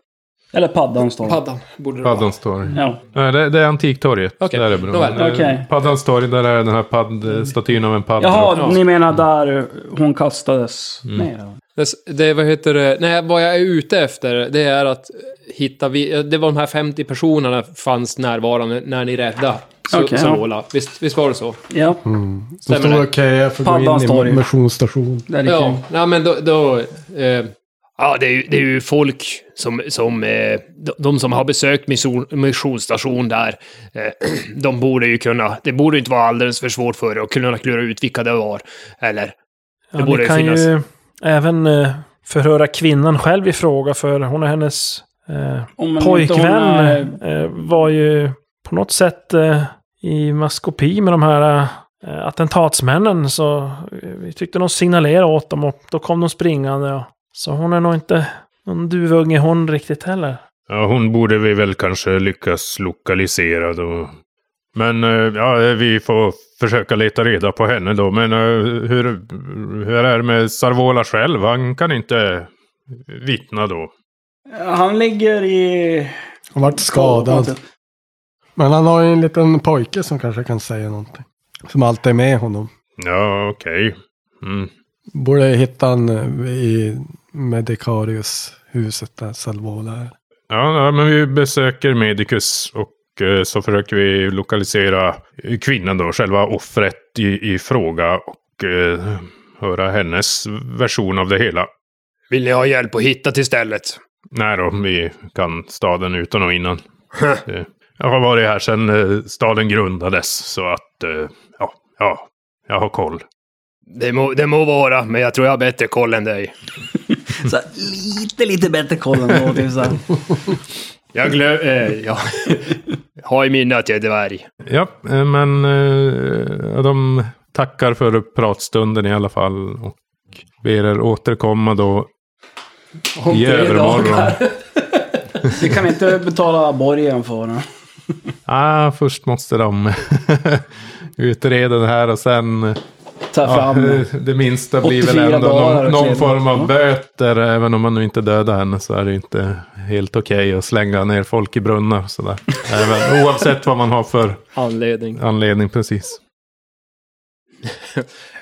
Speaker 3: Eller Paddans torg?
Speaker 6: Paddan borde det vara.
Speaker 9: Paddans torg.
Speaker 3: Ja.
Speaker 9: Nej, det, det är Antiktorget.
Speaker 6: Okej,
Speaker 9: Där är brunnen.
Speaker 6: nåväl.
Speaker 9: Eh,
Speaker 3: Okej.
Speaker 9: Paddans torg, där är den här padd, statyn av Mm. en padda.
Speaker 3: Jaha,
Speaker 6: Ja.
Speaker 3: ni menar där hon kastades ner?
Speaker 6: Det, det, vad heter det? Nej, vad jag är ute efter, det är att hitta... Vi, det var de här 50 personerna fanns närvarande när ni räddade so-
Speaker 3: Okej, ja.
Speaker 6: Sovola. Visst, visst var det så?
Speaker 3: Ja,
Speaker 5: De
Speaker 6: Stämmer
Speaker 5: står
Speaker 6: det?
Speaker 5: och köar för att
Speaker 3: Paddan
Speaker 5: gå
Speaker 3: står
Speaker 5: in
Speaker 3: ju.
Speaker 5: i missionsstationen.
Speaker 3: där är
Speaker 6: Ja,
Speaker 3: det.
Speaker 6: nej, men då... då eh,
Speaker 8: Ja, det är, ju- det är ju folk som, som eh, de, de som har besökt mission- missionsstation där. eh, De borde ju kunna, det borde ju inte vara alldeles för svårt för er att kunna klura ut vilka det var. Eller?
Speaker 2: Ja,
Speaker 8: Det borde
Speaker 2: ni kan
Speaker 8: finnas.
Speaker 2: ju även eh, förhöra kvinnan själv i fråga, för hon är hennes eh,
Speaker 3: Om inte hon
Speaker 2: pojkvän.
Speaker 3: är-
Speaker 2: Eh, var ju på något sätt eh, i maskopi med de här eh, attentatsmännen, så eh, vi tyckte de signalerade åt dem och då kom de springande. Och, så hon är nog inte någon duvunge hon riktigt heller.
Speaker 9: Ja, hon borde vi väl kanske lyckas lokalisera då. Men eh, ja, vi får försöka leta reda på henne då. Men eh, hur, hur är det med Sarvola själv? Han kan inte vittna då.
Speaker 3: Han ligger i...
Speaker 5: Han vart skadad. Men han har ju en liten pojke som kanske kan säga någonting. Som alltid är med honom.
Speaker 9: Ja, okej. Mm.
Speaker 5: Borde hitta han eh, i Medicarius-huset där Salvola är.
Speaker 9: Ja, ja, men vi besöker Medicus och eh, så försöker vi lokalisera eh, kvinnan då, själva offret i, i fråga och eh, höra hennes version av det hela.
Speaker 8: Vill ni ha hjälp att hitta till stället?
Speaker 9: Nej då, vi kan staden utan och innan. Eh, Jag har varit här sedan eh, staden grundades, så att eh, ja, ja, jag har koll.
Speaker 8: Det må, det må vara, men jag tror jag har bättre koll än dig.
Speaker 3: Så här, lite, lite bättre koll ändå. Typ så här.
Speaker 8: Jag glöm, eh, jag har i minne att jag är dvärg.
Speaker 9: Ja, eh, men eh, de tackar för pratstunden i alla fall och ber er återkomma då i övermorgon.
Speaker 3: Vi kan inte betala borgen för den.
Speaker 9: Ah, först måste de utreda det här och sen...
Speaker 3: Ta
Speaker 9: Ja,
Speaker 3: fram.
Speaker 9: det minsta blir väl
Speaker 3: 84
Speaker 9: ändå
Speaker 3: dagar
Speaker 9: någon,
Speaker 3: och
Speaker 9: någon
Speaker 3: kleda.
Speaker 9: form
Speaker 3: Ja.
Speaker 9: av böter. Även om man nu inte dödar henne så är det inte helt okej att slänga ner folk i brunnar. och Sådär. Även, oavsett vad man har för
Speaker 6: anledning.
Speaker 9: anledning precis.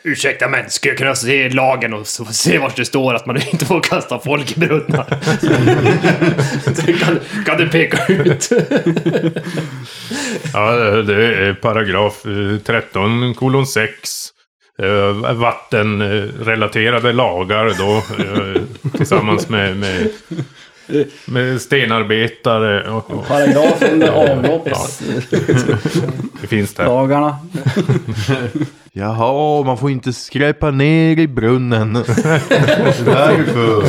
Speaker 8: Ursäkta men, skulle jag kunna se lagen och så- se vart det står att man inte får kasta folk i brunnar? kan, kan du peka ut?
Speaker 9: Ja, det är paragraf eh, 13 kolon 6. eh, Vattenrelaterade lagar då eh, tillsammans med, med, med stenarbetare. Och, och,
Speaker 3: Paragrafen med avloppsdagarna.
Speaker 9: det finns där.
Speaker 7: Jaha, man får inte skräpa ner i brunnen. Därför. Därför,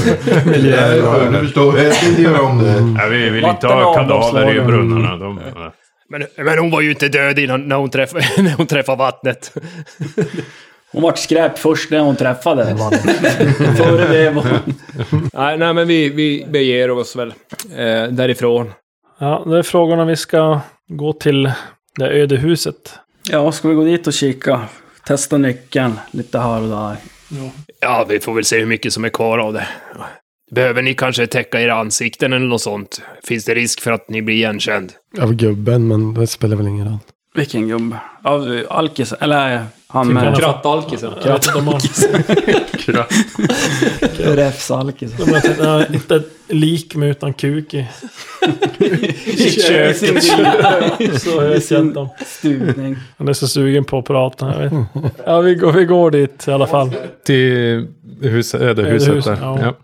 Speaker 7: du förstår. Jag ska inte göra om det.
Speaker 9: Ja, vi vill inte
Speaker 3: Vatten-
Speaker 9: ha
Speaker 3: och
Speaker 9: kadaver i
Speaker 3: avloppslagen.
Speaker 9: brunnarna. De, nej.
Speaker 8: Men, men hon var ju inte död innan när hon, träff, när hon träffade vattnet.
Speaker 3: Hon vart skräp först när hon träffade. Före det var
Speaker 6: Nej, nej, men vi, vi beger oss väl eh, därifrån.
Speaker 2: Ja, det är frågan om vi ska gå till det ödehuset.
Speaker 3: Ja, ska vi gå dit och kika? Testa nyckeln lite här och där.
Speaker 8: Ja, vi får väl se hur mycket som är kvar av det. Behöver ni kanske täcka era ansikten eller något sånt? Finns det risk för att ni blir igenkänd?
Speaker 5: Av gubben, men det spelar väl ingen roll.
Speaker 3: Vilken gubbe? Av Alkis? Eller han
Speaker 5: Typ
Speaker 3: med...
Speaker 6: Krattalkisen.
Speaker 2: De har,
Speaker 3: Räfsalkis.
Speaker 2: de har de har inte ett lik med utan kuk i.
Speaker 3: I köket.
Speaker 2: Så jag ser inte dem.
Speaker 3: Stuvning.
Speaker 2: Han är så sugen på att prata. Jag vet. Ja, vi går, vi går dit i alla fall.
Speaker 9: Till hus, ödehuset
Speaker 2: Ödehus,
Speaker 9: där.
Speaker 2: ja.
Speaker 9: Ja.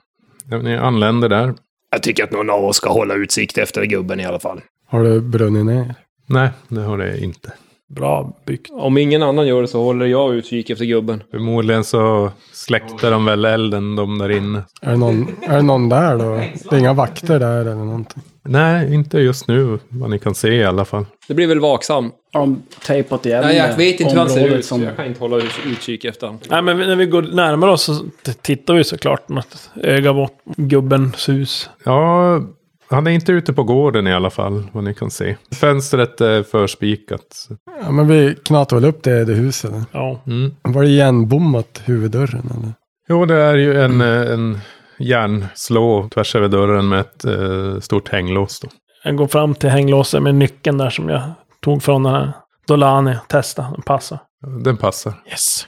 Speaker 9: Ja, Ni anländer där.
Speaker 4: Jag tycker att någon av oss ska hålla utsikt efter gubben i alla fall.
Speaker 5: Har du brunnit ner?
Speaker 9: Nej, det har det inte.
Speaker 2: Bra byggt.
Speaker 6: Om ingen annan gör det så håller jag utkik efter gubben.
Speaker 9: Förmodligen så släckte de väl elden de där inne.
Speaker 5: Är det, någon, är det någon där då? Det är inga vakter där eller någonting?
Speaker 9: Nej, inte just nu vad ni kan se i alla fall.
Speaker 6: Det blir väl vaksam.
Speaker 3: Har de tejpat igen eh,
Speaker 6: Nej, jag vet inte hur han ser
Speaker 3: området
Speaker 6: ut. så
Speaker 3: som-
Speaker 6: Jag kan inte hålla ut- utkik efter honom.
Speaker 2: Nej, men vi- när vi går närmare oss så t- tittar vi såklart med ett öga bort gubbens hus.
Speaker 9: Ja, han är inte ute på gården i alla fall, vad ni kan se. Fönstret är förspikat.
Speaker 5: Ja, men vi knatar väl upp det i det huset. eller?
Speaker 2: Ja.
Speaker 5: Var det igenbommat huvuddörren eller?
Speaker 9: Jo, det är ju en, eh, en järnslå tvärs över dörren med ett eh, stort hänglås. Då.
Speaker 2: Jag går fram till hänglåset med nyckeln där som jag tog från den här Dolani. Testa, den passar.
Speaker 9: Den passar.
Speaker 2: Yes.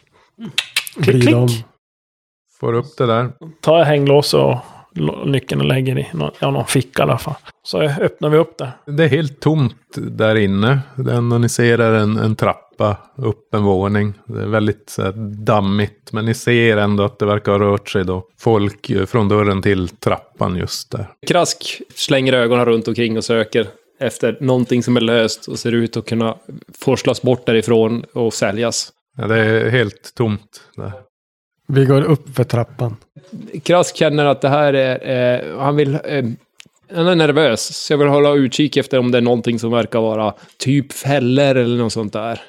Speaker 5: Vrida
Speaker 2: Klick,
Speaker 5: om.
Speaker 2: klick.
Speaker 9: Får upp det där.
Speaker 2: Tar jag hänglåset och lo- nyckeln och lägger i någon, ja, någon ficka i alla fall. Så öppnar vi upp det.
Speaker 9: Det är helt tomt där inne. Det enda ni ser är en, en trappa upp en våning. Det är väldigt så här, dammigt. Men ni ser ändå att det verkar ha rört sig då. Folk eh, från dörren till trappan just där.
Speaker 6: Krask slänger ögonen runt omkring och söker efter någonting som är löst och ser ut att kunna forslas bort därifrån och säljas.
Speaker 9: Ja, det är helt tomt där.
Speaker 5: Vi går upp för trappan.
Speaker 6: Krask känner att det här är... Eh, han vill... Eh, han är nervös, så jag vill hålla utkik efter om det är någonting som verkar vara typ fällor eller något sånt där.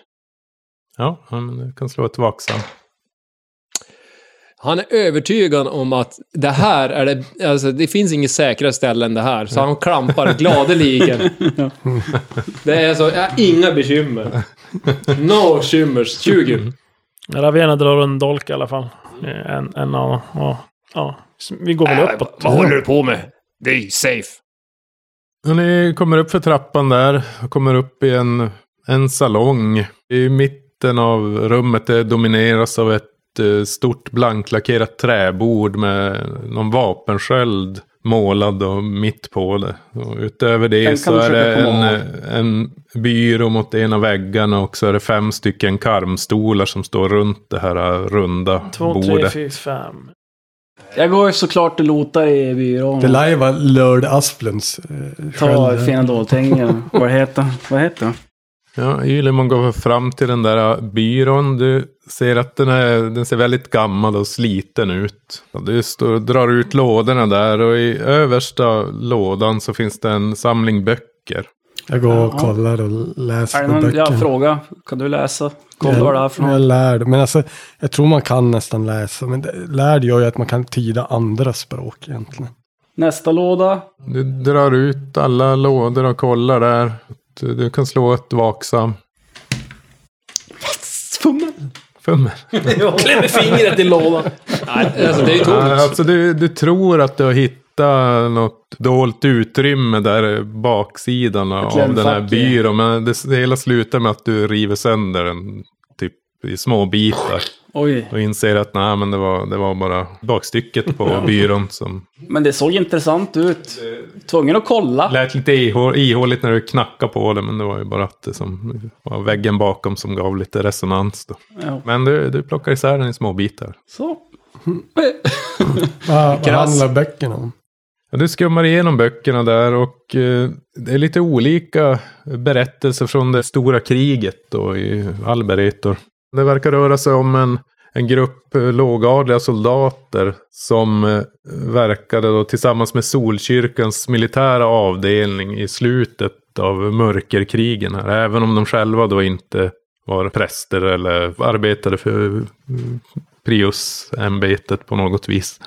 Speaker 9: Ja, ja, men du kan slå ett vaksam.
Speaker 6: Han är övertygad om att det här är det... Alltså, det finns inget säkrare ställe än det här, så han klampar gladeligen. Det är så... Jag har inga bekymmer. No shimmers. 20.
Speaker 2: Ravena drar en dolk i alla fall. Eh, En, en av ja, ja. Så Vi går väl
Speaker 4: Äh,
Speaker 2: uppåt.
Speaker 4: vad håller du på med? Det är ju safe.
Speaker 9: Ja, ni kommer upp för trappan där. och Kommer upp i en, en salong. I mitten av rummet det domineras av ett eh, stort blanklackerat träbord med någon vapensköld målad och mitt på det. Och utöver
Speaker 3: Den kan
Speaker 9: det så
Speaker 3: du
Speaker 9: är det
Speaker 3: försöka
Speaker 9: en,
Speaker 3: komma
Speaker 9: eh, en byrå mot ena väggarna och så är det fem stycken karmstolar som står runt det här eh, runda
Speaker 2: Två, tre,
Speaker 9: bordet.
Speaker 2: fyra, fem.
Speaker 3: Jag går ju såklart och lotar i byrån.
Speaker 5: Det lär ju vara Lörd Asplunds eh,
Speaker 3: Ta
Speaker 5: sköld.
Speaker 3: fina dolthängen. Vad heter Vad heter han?
Speaker 9: Ja, Ylemon går fram till den där byrån. Du ser att den, är, den ser väldigt gammal och sliten ut. Ja, Du står och drar ut lådorna där och i översta lådan så finns det en samling böcker.
Speaker 5: Jag går
Speaker 3: Ja.
Speaker 5: och kollar och läser
Speaker 3: Är det
Speaker 5: på
Speaker 3: någon, jag
Speaker 5: böckerna.
Speaker 3: frågar. Kan du läsa? Kolla
Speaker 5: Jag,
Speaker 3: vad det är för
Speaker 5: jag
Speaker 3: något.
Speaker 5: lärd. Men alltså, jag tror man kan nästan läsa. Men det- lärd gör ju att man kan tyda andra språk egentligen.
Speaker 3: Nästa låda.
Speaker 9: Du drar ut alla lådor och kollar där. Du, du kan slå ett vaksam.
Speaker 3: Fummel.
Speaker 9: Fummel.
Speaker 6: Klämmer fingret i lådan. Nej, alltså det är ju
Speaker 9: Ja,
Speaker 6: tomt.
Speaker 9: alltså du, du tror att du har hittat något dolt utrymme där i baksidan av den här
Speaker 3: klämfack, ja.
Speaker 9: byrån. Men det, det hela slutar med att du river sönder den typ i små bitar.
Speaker 3: Oj.
Speaker 9: Och inser att nej, men det var, det var bara bakstycket på byrån som
Speaker 3: Men det såg intressant ut. Tvungen att kolla.
Speaker 9: lät lite ihå- ihåligt när du knackade på det. Men det var ju bara att det som var väggen bakom som gav lite resonans då.
Speaker 3: Ja.
Speaker 9: Men du, du plockar isär den i små bitar.
Speaker 3: Så.
Speaker 5: Vad, vad handlar böckerna om?
Speaker 9: Ja, du skummar igenom böckerna där och eh, det är lite olika berättelser från det stora kriget då i Alberetor. Det verkar röra sig om en, en grupp eh, lågadliga soldater som eh, verkade då tillsammans med Solkyrkans militära avdelning i slutet av mörkerkrigen här. Även om de själva då inte var präster eller arbetade för eh, Prius-ämbetet på något vis.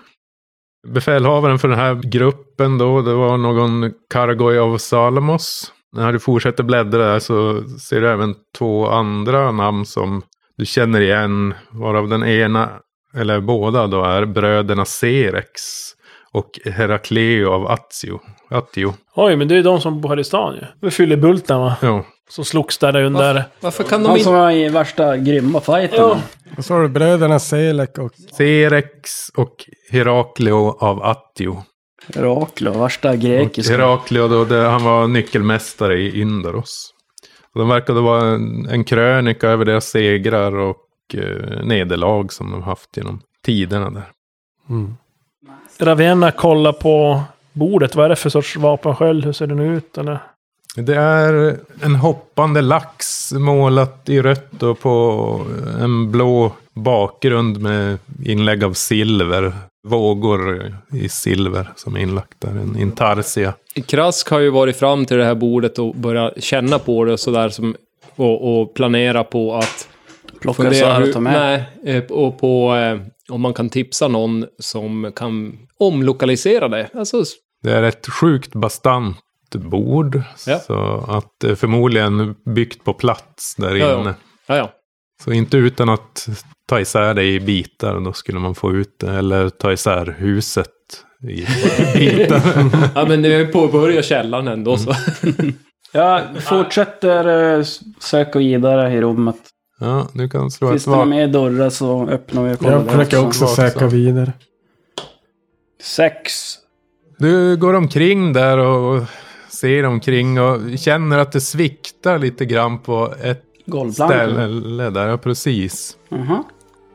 Speaker 9: Befälhavaren för den här gruppen då, det var någon Kargoy av Salamos. När du fortsätter bläddra där så ser du även två andra namn som du känner igen. Varav den ena, eller båda då, är bröderna Serex och Herakleo av Attio. Attio.
Speaker 2: Oj, men det är ju de som bor här i stan ju. Vi fyller bulten va?
Speaker 9: Ja.
Speaker 2: Som slogs där under.
Speaker 6: Varför kan de
Speaker 3: Han som
Speaker 6: inte...
Speaker 3: var i värsta grymma fighten.
Speaker 5: Vad sa du? Bröderna Selek och...
Speaker 9: Serex och Heraklio av Attio.
Speaker 3: Heraklo, värsta grekiska.
Speaker 9: Heraklio, då, det, han var nyckelmästare i Indaros. Och de verkade vara en, en krönika över deras segrar och eh, nederlag som de haft genom tiderna där.
Speaker 2: Ravenna kollar på bordet. Vad är det för sorts vapensköld? Hur ser den ut? Eller?
Speaker 9: Det är en hoppande lax målat i rött och på eh, en blå bakgrund med inlägg av silver. Vågor i silver som är inlagt där. En intarsia.
Speaker 6: Krask har ju varit fram till det här bordet och börjat känna på det och sådär som... Och, och planera på att...
Speaker 3: Plocka
Speaker 6: Fundera
Speaker 3: isär
Speaker 6: hur,
Speaker 3: och ta med.
Speaker 6: nej, eh, och på eh, om man kan tipsa någon som kan omlokalisera det. Alltså, s-
Speaker 9: Det är ett sjukt bastant bord.
Speaker 6: Ja.
Speaker 9: Så att det är förmodligen byggt på plats där
Speaker 6: Ja, ja.
Speaker 9: inne.
Speaker 6: ja, ja.
Speaker 9: Så inte utan att ta isär det i bitar. Då skulle man få ut det. Eller ta isär huset i bitar.
Speaker 6: ja men det är påbörja källan ändå så.
Speaker 3: Jag fortsätter eh, söka vidare i rummet.
Speaker 9: ja, du kan slå
Speaker 3: Finns
Speaker 9: ett
Speaker 3: det några
Speaker 9: vapen.
Speaker 3: mer dörrar så öppnar vi och kollar.
Speaker 5: Jag
Speaker 3: där
Speaker 5: försöker också söka vidare.
Speaker 3: Sex.
Speaker 9: Du går omkring där och ser omkring och känner att det sviktar lite grann på ett
Speaker 3: Golvplank.
Speaker 9: ställe där. Ja, precis.
Speaker 3: Jaha.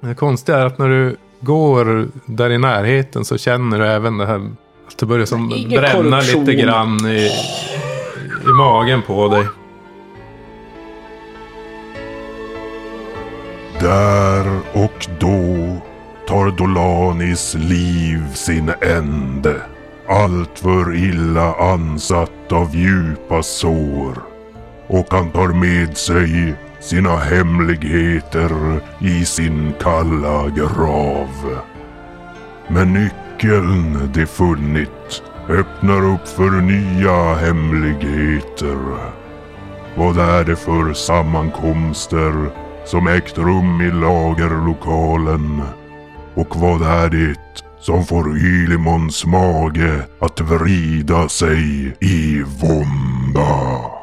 Speaker 9: Det konstiga är att när du går där i närheten så känner du även det här att det börjar som
Speaker 3: Ingen
Speaker 9: bränna
Speaker 3: korruption.
Speaker 9: lite grann i, i magen på dig.
Speaker 1: Där och då tar Dolanis liv sin ände. Alltför illa ansatt av djupa sår. Och han tar med sig sina hemligheter i sin kalla grav. Men nyckeln de funnit öppnar upp för nya hemligheter. Vad är det för sammankomster som ägt rum i lagerlokalen? Och vad är det som får Ylimons mage att vrida sig i vånda?